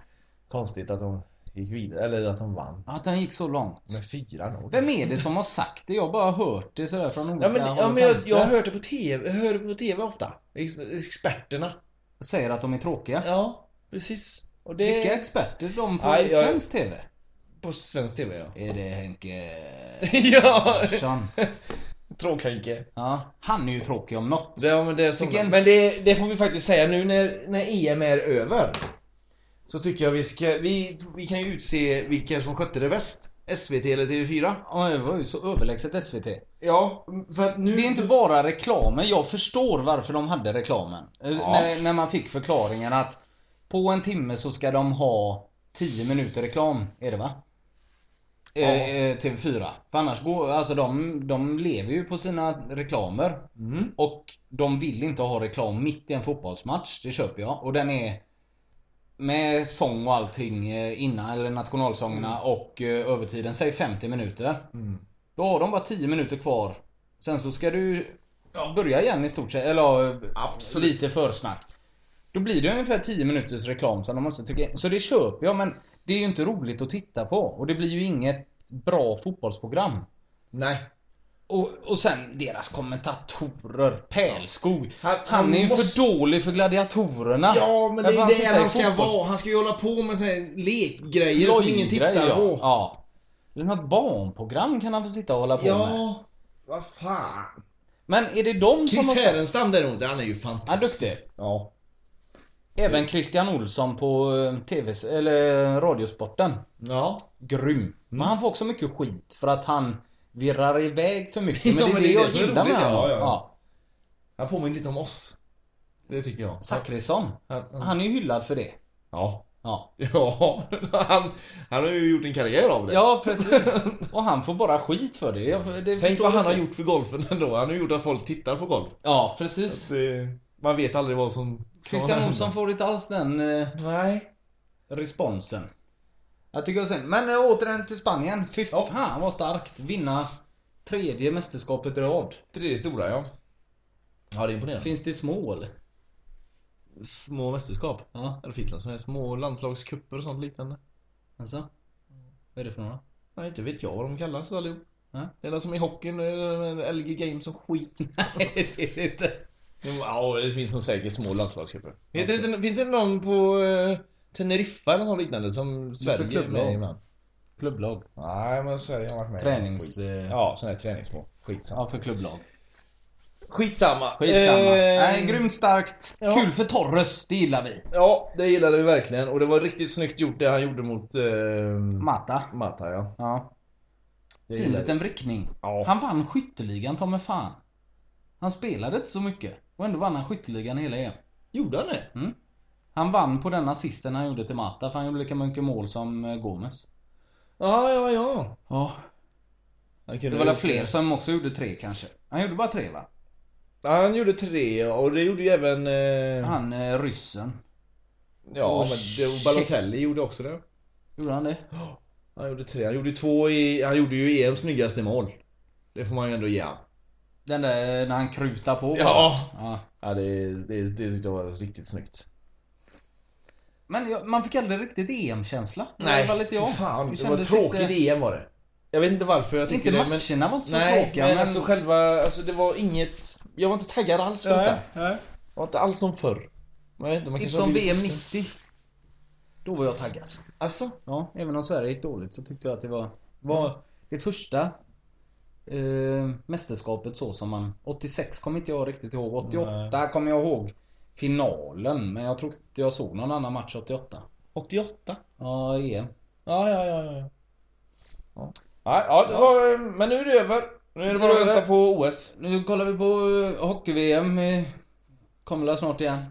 Speaker 7: konstigt att de gick vidare, eller att de vann
Speaker 8: Att den gick så långt.
Speaker 7: med 4-0.
Speaker 8: Vem är det som har sagt det? Jag har bara hört det sådär från olika
Speaker 7: Ja men,
Speaker 8: håll
Speaker 7: ja,
Speaker 8: och
Speaker 7: men jag,
Speaker 8: kanter.
Speaker 7: jag har hört det på TV, jag hör det på TV ofta. Ex- Experterna.
Speaker 8: Säger att de är tråkiga.
Speaker 7: Ja, precis. Och
Speaker 8: Och det-
Speaker 7: Vilka experter de på
Speaker 8: Nej, jag-
Speaker 7: svensk TV?
Speaker 8: På svensk TV ja.
Speaker 7: Är det Henke...
Speaker 8: ja!
Speaker 7: Larsson?
Speaker 8: Tråkhänke.
Speaker 7: Ja, han är ju tråkig om något.
Speaker 8: Ja, men det,
Speaker 7: Vilken-
Speaker 8: men det, det får vi faktiskt säga nu när, när EM är över. Så tycker jag vi ska, vi, vi kan ju utse vilka som skötte det bäst. SVT eller TV4.
Speaker 7: Ja, det var ju så överlägset SVT.
Speaker 8: Ja, för att nu...
Speaker 7: Det är inte bara reklamen. Jag förstår varför de hade reklamen. Eh,
Speaker 8: Ja.
Speaker 7: När, när man fick förklaringen att på en timme så ska de ha 10 minuter reklam, är det va? Eh,
Speaker 8: Ja.
Speaker 7: eh, TV4. För annars går, alltså de, de lever ju på sina reklamer.
Speaker 8: Mm.
Speaker 7: Och de vill inte ha reklam mitt i en fotbollsmatch. Det köper jag. Och den är med sång och allting eh, innan, eller nationalsångerna
Speaker 8: Mm.
Speaker 7: och eh, övertiden, säg 50 minuter. Då har de bara 10 minuter kvar. Sen så ska du börja igen i stort sett. Eller Absolut. lite försnack. Då blir det ungefär 10 minuters reklam som de måste trycka in. Så det köper jag men det är ju inte roligt att titta på. Och det blir ju inget bra fotbollsprogram.
Speaker 8: Nej.
Speaker 7: Och, och sen deras kommentatorer. Pälskog.
Speaker 8: Han,
Speaker 7: Han är ju
Speaker 8: måste-
Speaker 7: för dålig för gladiatorerna.
Speaker 8: Ja, men det
Speaker 7: Varför
Speaker 8: är det
Speaker 7: sitter i
Speaker 8: han ska
Speaker 7: fotbolls-
Speaker 8: vara. Han ska ju hålla på med såna här lekgrejer som ingen tittar
Speaker 7: ja.
Speaker 8: på.
Speaker 7: Ja. Eller något barnprogram kan han få sitta och hålla på med.
Speaker 8: Ja, vad fan.
Speaker 7: Men är det de som
Speaker 8: Chris
Speaker 7: har...
Speaker 8: Härenstam däremot, han är ju
Speaker 7: Han är
Speaker 8: fantastisk.
Speaker 7: duktig.
Speaker 8: Ja.
Speaker 7: Även Christian Olsson på eh, TV eller eh, Radiosporten.
Speaker 8: Ja. Mm.
Speaker 7: Grym. Men han får också mycket skit för att han virrar iväg för mycket. Men det
Speaker 8: Ja,
Speaker 7: är
Speaker 8: men
Speaker 7: det,
Speaker 8: det är
Speaker 7: jag
Speaker 8: det som är
Speaker 7: gillar med
Speaker 8: roligt, ja,
Speaker 7: honom. Ja.
Speaker 8: ja, ja. Han påminner lite om oss. Det tycker jag.
Speaker 7: Zachrisson.
Speaker 8: Han, han,
Speaker 7: Han är ju hyllad för det.
Speaker 8: Ja.
Speaker 7: Ja.
Speaker 8: Ja, han, han har ju gjort en karriär av det.
Speaker 7: Ja, precis. Och han får bara skit för det. Jag, det
Speaker 8: Tänk
Speaker 7: förstår
Speaker 8: vad han
Speaker 7: jag
Speaker 8: har
Speaker 7: inte.
Speaker 8: gjort för golfen ändå. Han har gjort att folk tittar på golf.
Speaker 7: Ja, precis.
Speaker 8: Så, eh, man vet aldrig vad som... ska
Speaker 7: Christian
Speaker 8: hända.
Speaker 7: Olsson får inte alls den eh,
Speaker 8: Nej.
Speaker 7: responsen. Jag tycker sen. Men eh, återigen till Spanien. Fy fan vad starkt. Vinna tredje mästerskapet i rad.
Speaker 8: Tre stora, ja. Ja, det är imponerande.
Speaker 7: Finns det små eller?
Speaker 8: Små mästerskap.
Speaker 7: Ja.
Speaker 8: Eller finns det såna här små landslagskupper och sånt liknande?
Speaker 7: Alltså? Vad är det för några?
Speaker 8: Nej, inte vet jag vad de kallas allihop.
Speaker 7: Nej.
Speaker 8: Det enda som i hockeyn är eh, LG Games som skit.
Speaker 7: Nej, det är det inte.
Speaker 8: Ja, det finns nog säkert små landslagsgrupper. Finns det någon på eh, Teneriffa eller något liknande som Sverige är
Speaker 7: klubblag.
Speaker 8: med ibland?
Speaker 7: Klubblag.
Speaker 8: Nej, men Sverige har varit med.
Speaker 7: Tränings...
Speaker 8: Skit.
Speaker 7: eh,
Speaker 8: Ja, sån här träningsmål. Skitsamma.
Speaker 7: Ja, för klubblag.
Speaker 8: Skitsamma.
Speaker 7: Skitsamma.
Speaker 8: Eh,
Speaker 7: Nej, grymt starkt.
Speaker 8: ja.
Speaker 7: Kul för Torres, det gillar vi.
Speaker 8: Ja, det gillade vi verkligen. Och det var riktigt snyggt gjort det han gjorde mot eh,
Speaker 7: Mata.
Speaker 8: Mata. Ja.
Speaker 7: Ja.
Speaker 8: Det
Speaker 7: Fin
Speaker 8: gillar vi.
Speaker 7: liten vrickning.
Speaker 8: Ja.
Speaker 7: Han vann skytteligan, ta mig fan. Han spelade inte så mycket. Och ändå vann han skytteligan hela EM. Mm.
Speaker 8: Gjorde han det?
Speaker 7: Han vann på den assisten han gjorde till Mata, för han gjorde lika mycket mål som eh, Gomes.
Speaker 8: Ja, ja, ja.
Speaker 7: Ja.
Speaker 8: Han
Speaker 7: Det
Speaker 8: kunde
Speaker 7: var väl
Speaker 8: gjort
Speaker 7: fler som också gjorde tre kanske. Han gjorde bara tre va?
Speaker 8: Han gjorde tre och det gjorde ju även... Eh...
Speaker 7: Han eh, ryssen.
Speaker 8: Ja,
Speaker 7: Åh,
Speaker 8: men det, och
Speaker 7: shit.
Speaker 8: Balotelli gjorde också det.
Speaker 7: Gjorde han det?
Speaker 8: Han gjorde tre. Han gjorde två i... Han gjorde ju EMs snyggaste mål. Det får man ju ändå ge han.
Speaker 7: Den där eh, när han krutar på bara.
Speaker 8: Ja.
Speaker 7: ja.
Speaker 8: Ja, det, det, det tyckte jag var riktigt snyggt.
Speaker 7: Men jag, man fick aldrig riktigt EM-känsla. Det
Speaker 8: Nej,
Speaker 7: var lite
Speaker 8: för
Speaker 7: jag.
Speaker 8: fan. Det, var
Speaker 7: kändes
Speaker 8: tråkigt
Speaker 7: inte,
Speaker 8: EM var det. Jag vet inte varför jag tycker
Speaker 7: Inte
Speaker 8: det,
Speaker 7: matcherna
Speaker 8: men...
Speaker 7: var inte så
Speaker 8: Nej,
Speaker 7: tråkiga
Speaker 8: men, alltså själva... Alltså det var inget... Jag var inte taggad alls för detta.
Speaker 7: nej.
Speaker 8: Jag var inte alls som förr. Men jag vet inte, man kanske
Speaker 7: Som
Speaker 8: har blivit
Speaker 7: VM
Speaker 8: vuxen.
Speaker 7: 90. Då var jag taggad.
Speaker 8: Alltså? Mm.
Speaker 7: Ja, även om Sverige gick dåligt så tyckte jag att det var, var det första eh, mästerskapet så som man... 86 kommer inte jag riktigt ihåg. 88 kommer jag ihåg finalen. Men jag tror inte jag såg någon annan match 88.
Speaker 8: 88?
Speaker 7: Ja, E EM.
Speaker 8: Ja, ja, ja, ja. Ja, ja, ja det var, men nu är det över. Nu är det bara att vänta på OS.
Speaker 7: Nu kollar vi på eh, hockey-VM. eh, Kommer väl snart igen.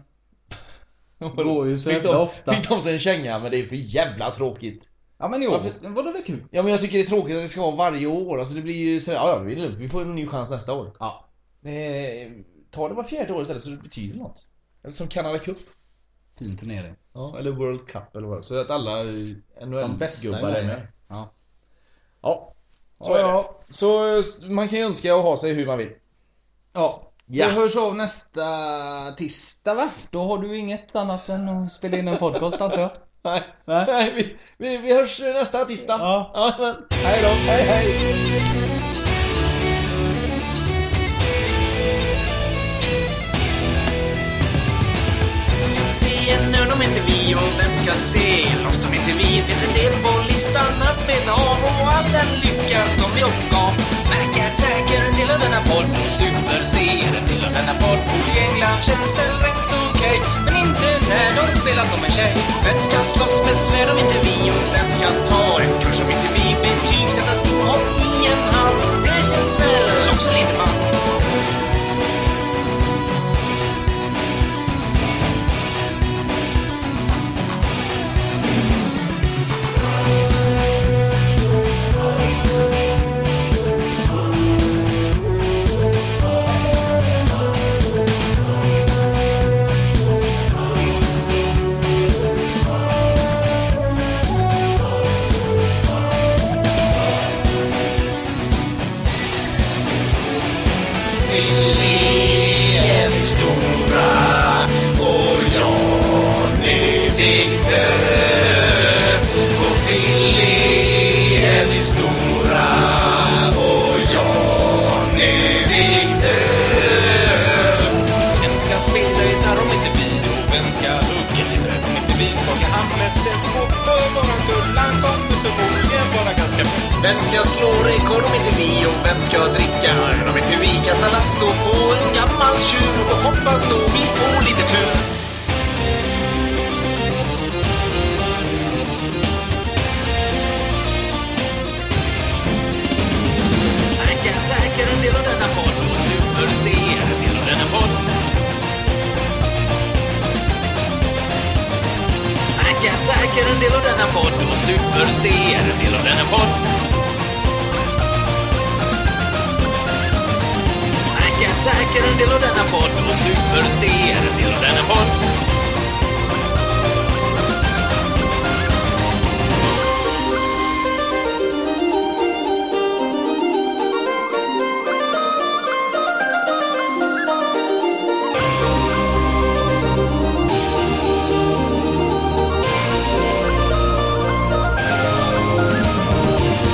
Speaker 7: Går ju så
Speaker 8: Fick
Speaker 7: jävla
Speaker 8: de-
Speaker 7: ofta.
Speaker 8: Fick de sig en känga, men det är för jävla tråkigt.
Speaker 7: Ja men i år.
Speaker 8: Varför-
Speaker 7: Var det väl kul?
Speaker 8: Ja men jag tycker det är tråkigt att det ska vara varje år. Alltså det blir ju så ja, ja vi, är lugnt. vi får en ny chans nästa år.
Speaker 7: Ja.
Speaker 8: Eh, ta det var fjärde år istället så det betyder något. Eller som Canada Cup.
Speaker 7: Fin turnering.
Speaker 8: Ja, eller World Cup eller vad det är. Så att alla
Speaker 7: De bästa
Speaker 8: NHL-gubbar
Speaker 7: är
Speaker 8: är
Speaker 7: med.
Speaker 8: med.
Speaker 7: Ja.
Speaker 8: Ja. Så,
Speaker 7: Ja,
Speaker 8: ja,
Speaker 7: ja.
Speaker 8: så eh, man kan ju önska och ha sig hur man vill.
Speaker 7: Ja.
Speaker 8: Ja.
Speaker 7: Vi hörs av nästa tisdag va? Då har du inget annat än att spela in en podcast antar jag?
Speaker 8: Nej,
Speaker 7: Nej.
Speaker 8: Nej vi, vi, vi hörs nästa tisdag.
Speaker 7: Ja.
Speaker 8: ja men, hej då. Hej hej.
Speaker 15: Det är nu de inte vi och vem ska
Speaker 9: ska se loss som inte vi. Finns en del på listan att beta av och all den lycka som vi också gav. Mac Attack är en del av denna podd och Super C är en del av denna podd. Och I England känns det rätt okej, men inte när de spelar som en tjej. Vem ska slåss med svärd om inte vi? Och vem ska ta en kurs om inte vi? Betygsättas om i en hall. Det känns väl också lite man. Vem ska spela gitarr om inte vi? Jo, vem ska hugga lite om inte vi? Skaka hand med Steffo för våran skull. Han kommer förmodligen vara ganska bra. Vem ska slå rekord om inte vi? Och vem ska dricka öl om inte vi? Kasta lasso på en gammal tjur och hoppas då vi får lite tur. Mac Attack är en del av denna podd och Super C är en del av denna podd. Mac Attack är en del av denna podd och Super C är en del av denna podd. Mac Attack är en del av denna podd och Super C är en del av denna podd.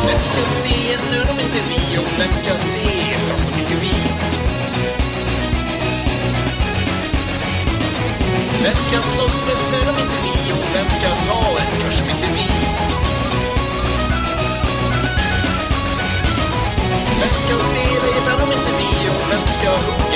Speaker 9: Vem ska se nu om inte vi? Och vem ska se oss om inte vi? Vem ska slåss med svärd om inte vi? Och vem ska ta en kurs om inte vi? Vem ska spela gitarr om inte vi? Och vem ska hugga